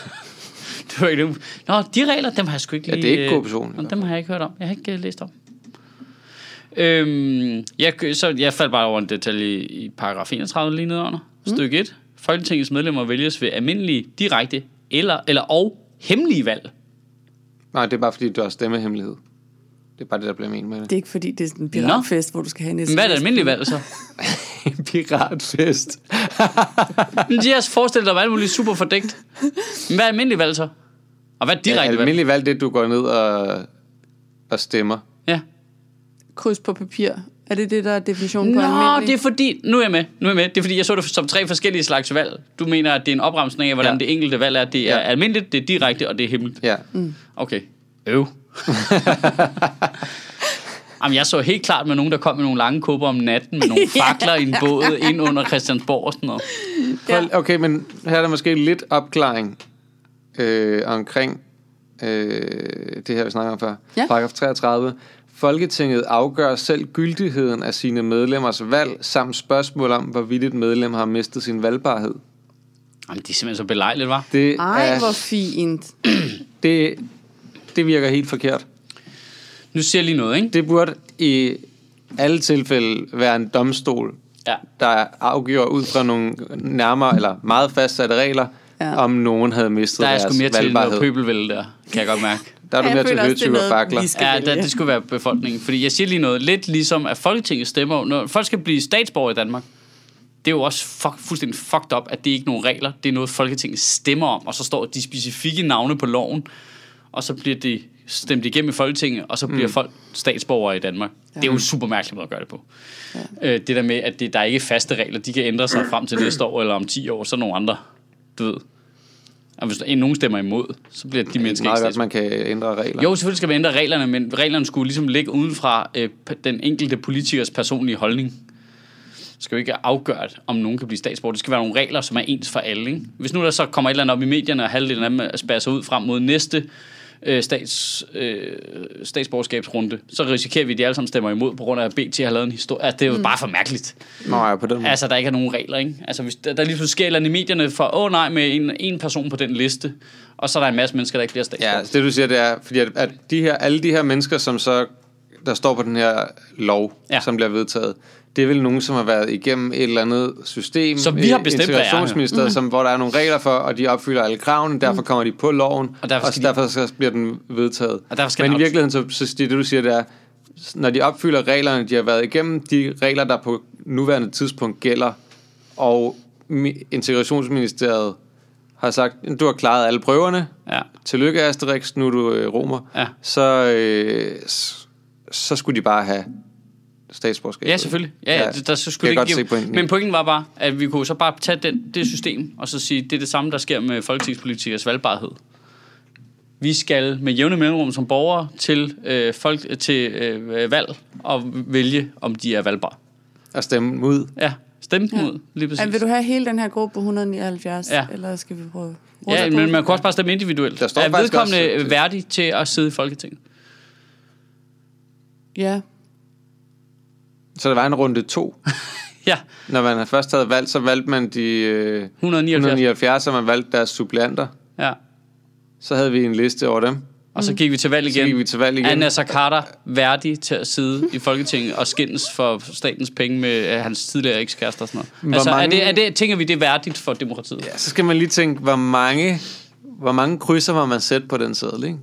Speaker 1: det var ikke nogen- Nå, de regler, dem har jeg sgu ikke
Speaker 2: Ja,
Speaker 1: lige...
Speaker 2: det er ikke
Speaker 1: øh,
Speaker 2: korruption, i hvert
Speaker 1: Nå,
Speaker 2: fald.
Speaker 1: dem har jeg ikke hørt om. Jeg har ikke øh, læst om. Øhm, jeg, kø- så jeg faldt bare over en detalje i, i paragraf 31 lige nedenunder.
Speaker 2: Mm.
Speaker 1: Stykke 1. Folketingets medlemmer vælges ved almindelige, direkte eller, eller og hemmelige valg.
Speaker 2: Nej, det er bare fordi, du har stemmehemmelighed. Det er bare det, der bliver ment med det.
Speaker 3: Det er ikke fordi, det er sådan en piratfest, hvor du skal have en
Speaker 1: Men hvad er det almindelige valg så?
Speaker 2: Piratfest.
Speaker 1: Men de har forestillet dig, at alt muligt super fordækt. Men hvad er almindelige valg så? Og hvad er
Speaker 2: Ja,
Speaker 1: direkte valg?
Speaker 2: almindelig valg, det er, du går ned og, og stemmer.
Speaker 1: Ja.
Speaker 3: Kryds på papir. Er det det, der er definitionen på
Speaker 1: Nå,
Speaker 3: almindelig?
Speaker 1: det er fordi, nu er jeg med, nu er jeg med. Det er fordi, jeg så det som tre forskellige slags valg. Du mener, at det er en opremsning af, hvordan ja.
Speaker 2: Ja.
Speaker 1: det enkelte valg er. Det er ja.
Speaker 2: Ja.
Speaker 1: almindeligt, det er direkte, og det er hemmeligt.
Speaker 2: Ja.
Speaker 1: Okay. Øv. Jamen, jeg så helt klart med nogen, der kom med nogle lange kupper om natten, med nogle fakler i en båd ind under Christiansborg og sådan noget.
Speaker 2: Prøv, okay, men her er der måske lidt opklaring øh, omkring øh, det her, vi snakker om før.
Speaker 3: Ja.
Speaker 2: Paragraf 33. Folketinget afgør selv gyldigheden af sine medlemmers valg, samt spørgsmål om, hvorvidt et medlem har mistet sin valgbarhed.
Speaker 1: Jamen, det er simpelthen så belejligt, var.
Speaker 2: Det,
Speaker 3: Ej,
Speaker 2: er,
Speaker 3: hvor fint.
Speaker 2: det, det virker helt forkert.
Speaker 1: Nu siger jeg lige noget, ikke?
Speaker 2: Det burde i alle tilfælde være en domstol,
Speaker 1: Ja.
Speaker 2: der afgiver ud fra nogle nærmere eller meget fastsatte regler,
Speaker 3: Ja.
Speaker 2: ja. om nogen havde mistet
Speaker 1: Der er jeg
Speaker 2: deres
Speaker 1: sgu mere til
Speaker 2: valgbarhed.
Speaker 1: noget pøbelvælde der, kan jeg godt mærke.
Speaker 2: der er du
Speaker 3: Ja, jeg
Speaker 2: mere til
Speaker 3: føler også, det er
Speaker 2: højtyve
Speaker 3: noget,
Speaker 2: og fakler.
Speaker 3: vi skal
Speaker 1: Ja,
Speaker 3: vælge.
Speaker 1: der, det skulle være befolkningen. Fordi jeg siger lige noget, lidt ligesom at Folketinget stemmer, når folk skal blive statsborger i Danmark, det er jo også fuck, fuldstændig fucked up, at det ikke er nogen regler, det er noget Folketinget stemmer om, og så står de specifikke navne på loven, og så bliver det stemt igennem i Folketinget, og så bliver
Speaker 2: Mm.
Speaker 1: folk statsborgere i Danmark. Det er jo en super mærkelig måde at gøre det på. Ja. Øh, det der med, at det, der er ikke er faste regler, de kan ændre sig frem til næste år, eller om 10 år, så er nogle andre, du ved. Og hvis der, nogen stemmer imod, så bliver de
Speaker 2: Det er
Speaker 1: mennesker ikke
Speaker 2: meget
Speaker 1: statsborgere.
Speaker 2: godt, man kan ændre regler.
Speaker 1: Jo, selvfølgelig skal man ændre reglerne, men reglerne skulle ligesom ligge uden fra øh, p- den enkelte politikers personlige holdning. Det skal jo ikke afgøre, om nogen kan blive statsborger. Det skal være nogle regler, som er ens for alle. Ikke? Hvis nu der så kommer et eller andet op i medierne, og halvdelen af dem spærer sig ud frem mod næste øh, stats, øh, statsborgerskabsrunde, så risikerer vi, at de alle sammen stemmer imod, på grund af, at BT har lavet en historie. Altså, det er jo mm. bare for mærkeligt.
Speaker 2: Nå ja, på den måde.
Speaker 1: Altså, der ikke er nogen regler, ikke? Altså, hvis der, der lige pludselig sker et eller andet i medierne for, åh nej, med en, en person på den liste, og så er der en masse mennesker, der ikke bliver statsborger.
Speaker 2: Ja, altså det du siger, det er, fordi at, at de her, alle de her mennesker, som så, der står på den her lov,
Speaker 1: Ja.
Speaker 2: ja. som bliver vedtaget, det er vel nogen, som har været igennem et eller andet system.
Speaker 1: Som vi har
Speaker 2: i
Speaker 1: bestemt, hvad er. Mhm.
Speaker 2: Integrationsministeriet, som, hvor der er nogle regler for, og de opfylder alle kravene, derfor kommer de på loven,
Speaker 1: Og
Speaker 2: og
Speaker 1: derfor
Speaker 2: derfor, og
Speaker 1: skal de-
Speaker 2: derfor så bliver den vedtaget.
Speaker 1: Og derfor skal
Speaker 2: Men
Speaker 1: den
Speaker 2: i
Speaker 1: op-
Speaker 2: virkeligheden, så, så det det du siger, det er, når de opfylder reglerne, de har været igennem, de regler, der på nuværende tidspunkt gælder, og mi- Integrationsministeriet har sagt, du har klaret alle prøverne,
Speaker 1: Ja.
Speaker 2: tillykke Asterix, nu er du øh, romer,
Speaker 1: Ja.
Speaker 2: så, øh, s- så skulle de bare have statsborgerskab.
Speaker 1: Ja, selvfølgelig. Ja, ja. Der, der skulle
Speaker 2: jeg
Speaker 1: det
Speaker 2: kan
Speaker 1: ikke
Speaker 2: godt se
Speaker 1: give...
Speaker 2: pointen.
Speaker 1: Men pointen var bare, at vi kunne så bare tage den, det system, og så sige, det er det samme, der sker med folketingspolitikers valgbarhed. Vi skal med jævne mellemrum som borgere til, øh, folk, til øh, valg og vælge, om de er valgbare.
Speaker 2: Og stemme dem ud.
Speaker 1: Ja, stemme dem
Speaker 3: Ja.
Speaker 1: ud, lige præcis.
Speaker 3: Ja, vil du have hele den her gruppe på 179,
Speaker 1: Ja.
Speaker 3: ja. eller skal vi prøve?
Speaker 1: Ja, men man kunne også bare stemme individuelt.
Speaker 2: Der står
Speaker 1: er
Speaker 2: faktisk
Speaker 1: vedkommende
Speaker 2: også- øh,
Speaker 1: værdig til at sidde i Folketinget?
Speaker 3: Ja,
Speaker 2: Så der var en runde to.
Speaker 1: Ja,
Speaker 2: Når man først havde valgt, så valgte man de øh,
Speaker 1: 179.
Speaker 2: 179, og man valgte deres suppleanter.
Speaker 1: Ja.
Speaker 2: Så havde vi en liste over dem.
Speaker 1: Og
Speaker 3: Mm.
Speaker 1: så gik vi til valg igen.
Speaker 2: Så gik vi til valg igen.
Speaker 1: Er Nasser Carter værdig til at sidde i Folketinget og skændes for statens penge med øh, hans tidligere ekskærester og sådan noget?
Speaker 2: Hvor
Speaker 1: altså, er,
Speaker 2: mange-
Speaker 1: det, er det, tænker vi, det er værdigt for demokratiet?
Speaker 2: Ja, så skal man lige tænke, hvor mange, hvor mange krydser var man sæt på den sædel, ikke?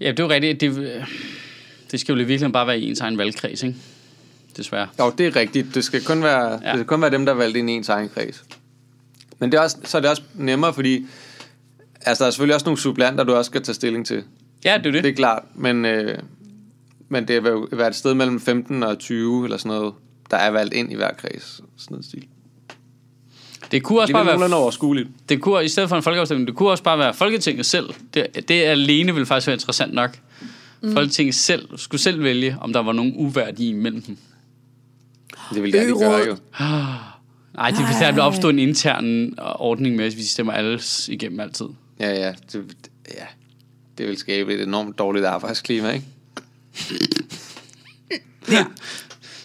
Speaker 1: Ja, det er jo rigtigt. Det, øh, det skal jo virkelig bare være i ens egen valgkreds, ikke? Desværre.
Speaker 2: Jo, det er rigtigt. Det skal kun være, ja.
Speaker 1: Ja.
Speaker 2: det skal kun være dem, der er valgt ind i ens egen kreds. Men det er også, så er det også nemmere, fordi altså, der er selvfølgelig også nogle supplanter, du også skal tage stilling til.
Speaker 1: Ja, det er jo det.
Speaker 2: Det er klart, men, øh, men det vil jo være et sted mellem 15 og 20 eller sådan noget, der er valgt ind i hver kreds. Sådan noget stil.
Speaker 1: Det kunne også
Speaker 2: Det er
Speaker 1: bare være...
Speaker 2: nogenlunde overskueligt.
Speaker 1: Det kunne, i stedet for en folkeafstemning, det kunne også bare være Folketinget selv. Det, det alene ville faktisk være interessant nok. Mm. Folketinget selv skulle selv vælge, om der var nogen uværdige imellem dem.
Speaker 2: Det vil det, de
Speaker 3: Ø-råd.
Speaker 2: gøre jo.
Speaker 1: Nej, det ville der ville opstå en intern øh, ordning med, at vi stemmer alle s- igennem altid.
Speaker 2: Ja, ja. Det, ja. det vil skabe et enormt dårligt arbejdsklima, ikke?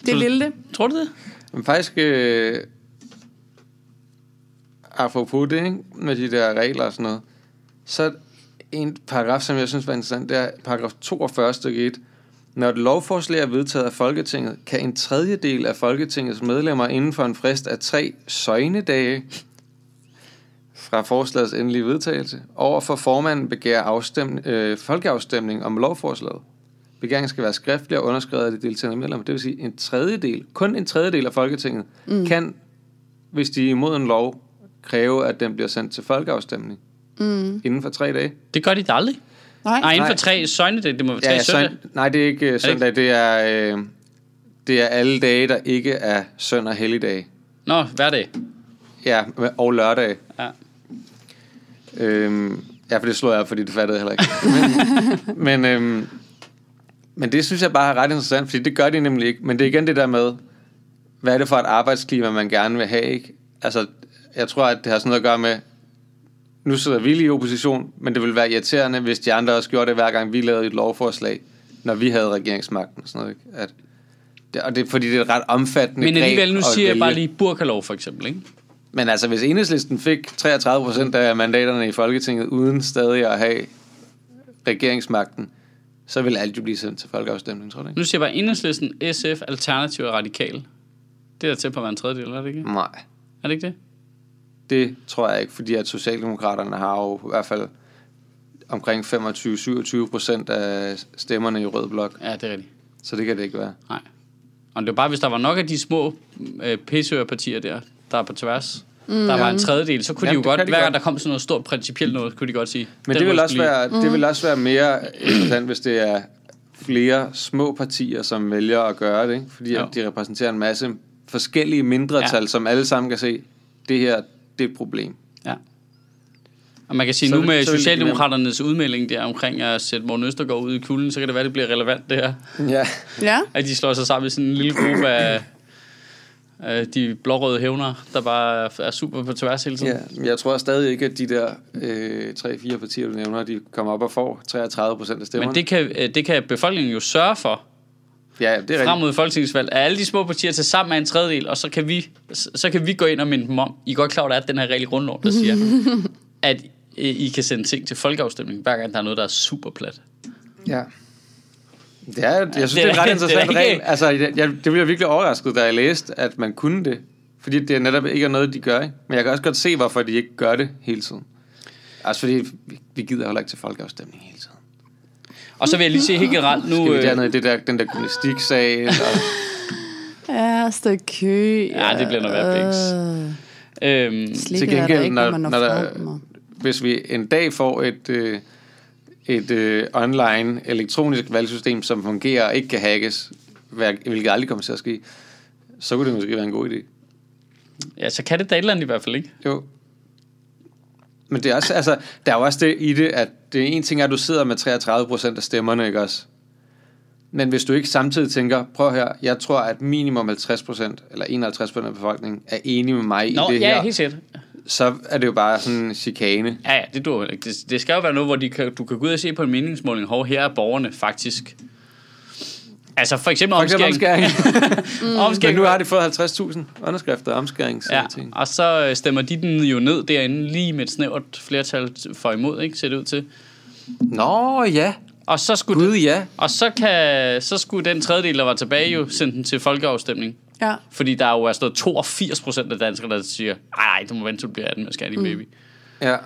Speaker 3: det ville det.
Speaker 1: Tror du det?
Speaker 2: Men faktisk, øh, apropos det, ikke? med de der regler og sådan noget, så en paragraf, som jeg synes var interessant, det er paragraf 42 stykke 1. Når et lovforslag er vedtaget af Folketinget, kan en tredjedel af Folketingets medlemmer inden for en frist af tre søgnedage fra forslagets endelige vedtagelse over for formanden begære afstem, øh, folkeafstemning om lovforslaget. Begæringen skal være skriftlig og underskrevet af de deltagende medlemmer. Det vil sige, en tredjedel, kun en tredjedel af Folketinget, mm. kan, hvis de er imod en lov, kræve, at den bliver sendt til folkeafstemning mm. inden for tre dage.
Speaker 1: Det gør de da aldrig.
Speaker 3: Nej,
Speaker 1: Nej, inden for
Speaker 2: Nej.
Speaker 1: tre søgnedage. Det må være tre
Speaker 2: Ja, ja,
Speaker 1: søndage.
Speaker 2: søn, nej, det er ikke uh, søndag, det er, øh, det er alle dage, der ikke er søn og helligdag.
Speaker 1: Nå, hverdag.
Speaker 2: Ja, og lørdag.
Speaker 1: Ja.
Speaker 2: Øhm, ja, for det slog jeg op, fordi det fattede jeg heller ikke. men, men, øhm, men det synes jeg bare er ret interessant, fordi det gør de nemlig ikke. Men det er igen det der med, hvad er det for et arbejdsklima, man gerne vil have, ikke? Altså, jeg tror, at det har sådan noget at gøre med, nu sidder vi lige i opposition, men det ville være irriterende, hvis de andre også gjorde det, hver gang vi lavede et lovforslag, når vi havde regeringsmagten og sådan noget, ikke? At, det, og det er fordi, det er et ret omfattende
Speaker 1: Men
Speaker 2: greb
Speaker 1: alligevel, nu
Speaker 2: at
Speaker 1: siger jeg
Speaker 2: vælge.
Speaker 1: bare lige burkalov for eksempel, ikke?
Speaker 2: Men altså, hvis enhedslisten fik 33 procent af mandaterne i Folketinget, uden stadig at have regeringsmagten, så vil alt jo blive sendt til folkeafstemning, tror du ikke?
Speaker 1: Nu siger jeg bare enhedslisten, SF, Alternativ og Radikal. Det er der til på at være en tredjedel, er det ikke?
Speaker 2: Nej,
Speaker 1: Er det ikke det?
Speaker 2: det tror jeg ikke, fordi at Socialdemokraterne har jo i hvert fald omkring 25-27 procent af stemmerne i Rød Blok,
Speaker 1: Ja, det er rigtigt.
Speaker 2: så det kan det ikke være.
Speaker 1: Nej. Og det var bare, hvis der var nok af de små øh, pisseørpartier der, der er på tværs, mm. der var en tredjedel, så kunne Jamen,
Speaker 2: Jamen,
Speaker 1: de
Speaker 2: det
Speaker 1: jo godt,
Speaker 2: kan de
Speaker 1: hver
Speaker 2: godt.
Speaker 1: gang der kom sådan noget stort principielt noget, kunne de godt sige.
Speaker 2: Men
Speaker 1: "Den
Speaker 2: det vil,
Speaker 1: ryster
Speaker 2: også
Speaker 1: lige."
Speaker 2: være, det vil også være mere interessant, hvis det er flere små partier, som vælger at gøre det, ikke? fordi
Speaker 1: Jo.
Speaker 2: at de repræsenterer en masse forskellige mindretal,
Speaker 1: Ja.
Speaker 2: ja. som alle sammen kan se, det her, det er et problem.
Speaker 1: Ja. Og man kan sige,
Speaker 2: Så
Speaker 1: så, nu
Speaker 2: vil-
Speaker 1: med
Speaker 2: så vil det blive nemt.
Speaker 1: Socialdemokraternes udmelding der omkring at sætte Morten Østergaard ud i kulden, så kan det være, det bliver relevant det her.
Speaker 2: Ja.
Speaker 3: Ja,
Speaker 1: At de slår sig sammen i sådan en lille gruppe af, af de blårøde hævnere, der bare er super på tværs hele tiden.
Speaker 2: ja. men Jeg tror stadig ikke, at de der øh, 3-4 partier, du nævner, de kommer op og får 33 procent af stemmerne.
Speaker 1: Men det kan, øh, det kan befolkningen jo sørge for,
Speaker 2: ja, ja, det er
Speaker 1: frem
Speaker 2: rigtigt.
Speaker 1: mod folketingsvalg, at alle de små partier til sammen er en tredjedel, og så kan vi, så så kan vi gå ind og minde dem om, I er godt klar, over, der er den her regel i grundloven, der siger, at øh, I kan sende ting til folkeafstemning, hver gang der er noget, der er super plat.
Speaker 2: Ja. Det er, jeg synes, det er,
Speaker 1: det
Speaker 2: en
Speaker 1: er-
Speaker 2: ret
Speaker 1: det er
Speaker 2: interessant
Speaker 1: ikke-
Speaker 2: regel. Altså, jeg, jeg, det blev jeg virkelig overrasket, da jeg læste, at man kunne det. Fordi det er netop ikke er noget, de gør. Ikke? Men jeg kan også godt se, hvorfor de ikke gør det hele tiden. Altså fordi, vi- vi gider heller ikke til folkeafstemning hele tiden.
Speaker 1: Og så vil jeg lige sige helt generelt nu...
Speaker 2: Skal vi
Speaker 1: øh,
Speaker 2: dernede i det der, den der gymnastiksag? eller-
Speaker 3: ja stykke kø.
Speaker 1: Ja, det bliver noget værd, Bix. Øhm,
Speaker 2: Til
Speaker 3: Slikket er der
Speaker 2: gengæld,
Speaker 3: ikke,
Speaker 2: når-
Speaker 3: når, man når,
Speaker 2: når der-
Speaker 3: frem, og-
Speaker 2: Hvis vi en dag får et, øh, et øh, online elektronisk valgsystem, som fungerer og ikke kan hackes, hver- hvilket aldrig kommer til at ske, så kunne det måske være en god idé.
Speaker 1: ja, så kan det da et eller andet i hvert fald, ikke?
Speaker 2: Jo. Men det er også, altså, der er jo også det i det, at det er en ting, er, at du sidder med 33 procent af stemmerne, ikke også? Men hvis du ikke samtidig tænker, prøv her, jeg tror, at minimum 50 procent, eller 51 procent af befolkningen, er enige med mig
Speaker 1: Nå,
Speaker 2: i det
Speaker 1: ja,
Speaker 2: her,
Speaker 1: helt sikkert.
Speaker 2: så er det jo bare sådan en chikane.
Speaker 1: Ja, ja, det dur vel ikke. Det, det skal jo være noget, hvor de kan, du kan gå ud og se på en meningsmåling, hov, her er borgerne faktisk. Altså for eksempel
Speaker 2: For eksempel
Speaker 1: omskæring.
Speaker 2: omskæring.
Speaker 1: mm.
Speaker 2: Men
Speaker 1: omskæring.
Speaker 2: nu har de fået 50.000 underskrifter af omskæring.
Speaker 1: ja,
Speaker 2: Ja. Ting.
Speaker 1: og så øh, stemmer de den jo ned derinde, lige med et snævert flertal for imod, ikke, ser det ud til.
Speaker 2: Nå ja,
Speaker 1: Og så skulle
Speaker 2: gud ja.
Speaker 1: Og så, kan, så skulle den tredjedel, der var tilbage, jo sende den til folkeafstemning.
Speaker 3: Ja.
Speaker 1: Fordi der er jo er stået 82 procent af danskere, der siger, nej, du må vente, til du bliver 18, man skal
Speaker 2: Mm.
Speaker 1: have din baby.
Speaker 2: ja.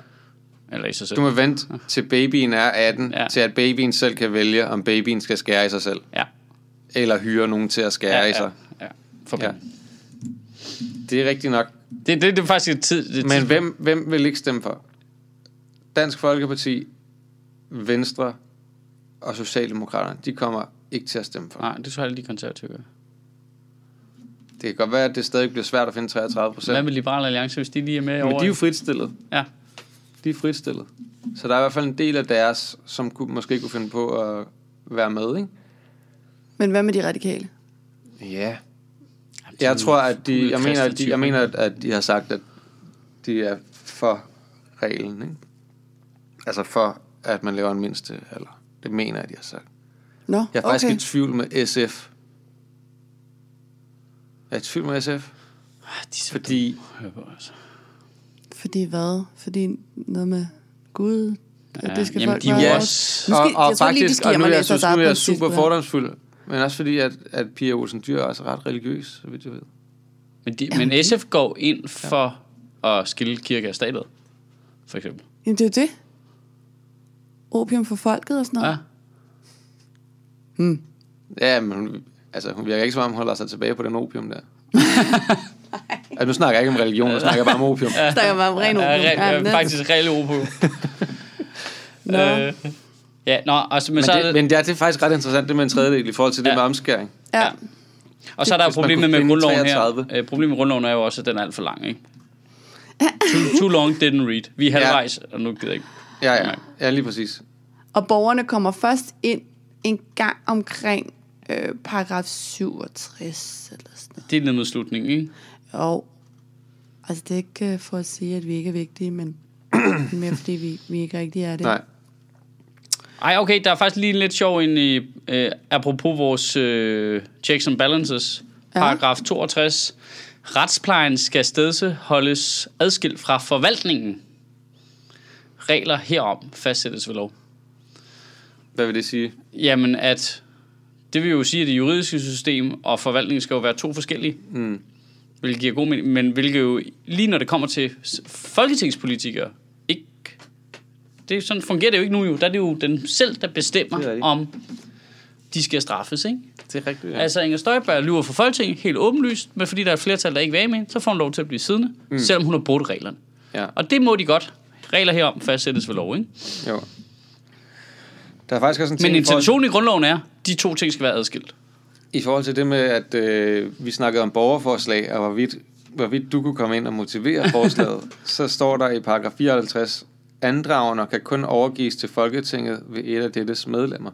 Speaker 1: Eller i sig selv.
Speaker 2: Du må vente til babyen er 18,
Speaker 1: Ja.
Speaker 2: ja. til at babyen selv kan vælge, om babyen skal skære i sig selv,
Speaker 1: Ja.
Speaker 2: eller hyre nogen til at skære
Speaker 1: Ja,
Speaker 2: i sig.
Speaker 1: ja, ja. For
Speaker 2: Ja.
Speaker 1: ja.
Speaker 2: Det er rigtigt nok.
Speaker 1: Det, det, det er faktisk et tid. Det,
Speaker 2: Men hvem, hvem vil ikke stemme for? Dansk Folkeparti, Venstre og Socialdemokraterne, de kommer ikke til at stemme for.
Speaker 1: Nej, det tror jeg lige de konservative gør.
Speaker 2: Det kan godt være, at det stadig bliver svært at finde 33
Speaker 1: Hvad
Speaker 2: procent.
Speaker 1: med Liberale Alliance, hvis de lige er med
Speaker 2: Men
Speaker 1: over?
Speaker 2: de er jo fritstillet.
Speaker 1: Ja.
Speaker 2: De er fritstillet. Så der er i hvert fald en del af deres, som kunne, måske kunne finde på at være med, ikke?
Speaker 3: Men hvad med de radikale?
Speaker 2: Ja. Jeg tror, at de, jeg mener, at de, jeg mener, at- at de har sagt, at de er for reglen, ikke? Altså for, at man laver en mindste alder. Det mener jeg, de har sagt.
Speaker 3: Nå,
Speaker 2: Jeg er
Speaker 3: okay.
Speaker 2: faktisk i tvivl med SF. Jeg er i tvivl med SF,
Speaker 1: Ah, de er så
Speaker 2: fordi
Speaker 1: dumme at høre på, altså.
Speaker 3: Fordi hvad? Fordi noget med Gud? Ja, det skal
Speaker 1: jamen,
Speaker 3: folk
Speaker 1: de er
Speaker 3: være
Speaker 1: jo
Speaker 3: over.
Speaker 1: også-
Speaker 3: Nu
Speaker 2: og,
Speaker 3: skal,
Speaker 2: og
Speaker 3: jeg tror
Speaker 2: faktisk,
Speaker 3: lige, de
Speaker 2: og
Speaker 3: skal
Speaker 2: nu
Speaker 3: mig
Speaker 2: er jeg,
Speaker 3: læse
Speaker 2: synes,
Speaker 3: os
Speaker 2: nu
Speaker 3: op
Speaker 2: er
Speaker 3: på
Speaker 2: jeg
Speaker 3: et
Speaker 2: super
Speaker 3: tidspunkt.
Speaker 2: fordomsfuld, men også fordi, at, at Pia Olsen Dyr er også ret religiøs, så vidt jeg ved.
Speaker 1: Men, de, men SF går ind for at skille kirke og statet, for eksempel.
Speaker 3: Jamen, det er jo det. Opium for folket og sådan noget.
Speaker 1: Ja.
Speaker 3: Ja.
Speaker 2: Ja, men hun, altså, hun virker ikke som om, hun holder sig tilbage på den opium der. altså, nu snakker jeg ikke om religion, nu snakker jeg bare om opium.
Speaker 3: Der snakker man om ren opium.
Speaker 1: Ja, re- ja,
Speaker 3: men-
Speaker 1: faktisk reelle opium.
Speaker 3: Nå.
Speaker 1: Øh, ja, nå, og, så, men,
Speaker 2: Men,
Speaker 1: så er
Speaker 2: det,
Speaker 1: det,
Speaker 2: men det, er, det er faktisk ret interessant, det med en tredjedel i forhold til ja.
Speaker 1: Ja.
Speaker 2: det med omskæring.
Speaker 3: Ja.
Speaker 1: og så er der jo
Speaker 2: hvis man
Speaker 1: problemet
Speaker 2: kunne
Speaker 1: med
Speaker 2: finde
Speaker 1: grundloven her.
Speaker 2: 33.
Speaker 1: Øh, problemet med grundloven er jo også, at den er alt for lang, ikke? Too, too long didn't read. Vi er halvvejs, og nu gider jeg ikke.
Speaker 2: Ja, ja, ja, lige præcis.
Speaker 3: Og borgerne kommer først ind en gang omkring øh, paragraf 67 eller sådan noget.
Speaker 1: Det er nemlig slutningen, ikke?
Speaker 3: Jo. Altså, det er ikke øh, for at sige, at vi ikke er vigtige, men mere fordi vi, vi ikke rigtig er det.
Speaker 2: Nej.
Speaker 1: Ej, okay, der er faktisk lige en lidt sjov ind i, øh, apropos vores øh, checks and balances,
Speaker 3: Ja.
Speaker 1: paragraf 62. Retsplejen skal stedse holdes adskilt fra forvaltningen. Regler herom fastsættes ved lov.
Speaker 2: Hvad vil det sige?
Speaker 1: Jamen, at det vil jo sige, at det juridiske system og forvaltningen skal jo være to forskellige. Mm. Hvilket giver god mening, men hvilket jo, lige når det kommer til s- folketingspolitikere, ikke... Det, er sådan fungerer det jo ikke nu jo. Der er det jo den selv, der
Speaker 2: Det er
Speaker 1: bestemmer,
Speaker 2: rigtigt.
Speaker 1: om de skal straffes, ikke?
Speaker 2: Det er rigtigt,
Speaker 1: Ja. Altså, Inger Støjberg lyver for Folketinget, helt åbenlyst, men fordi der er et flertal, der ikke vil af med hende, så får hun lov til at blive siddende, mm. selvom hun har brudt reglerne.
Speaker 2: Ja.
Speaker 1: Og det må de godt. Regler herom fastsættes ved lov, ikke?
Speaker 2: Jo. Der er faktisk også en ting
Speaker 1: Men
Speaker 2: i forhold-
Speaker 1: intentionen i grundloven er, de to ting skal være adskilt.
Speaker 2: I forhold til det med, at øh, vi snakkede om borgerforslag, og hvorvidt, hvorvidt du kunne komme ind og motivere forslaget, så står der i paragraf 54, andragende kan kun overgives til Folketinget ved et af dettes medlemmer.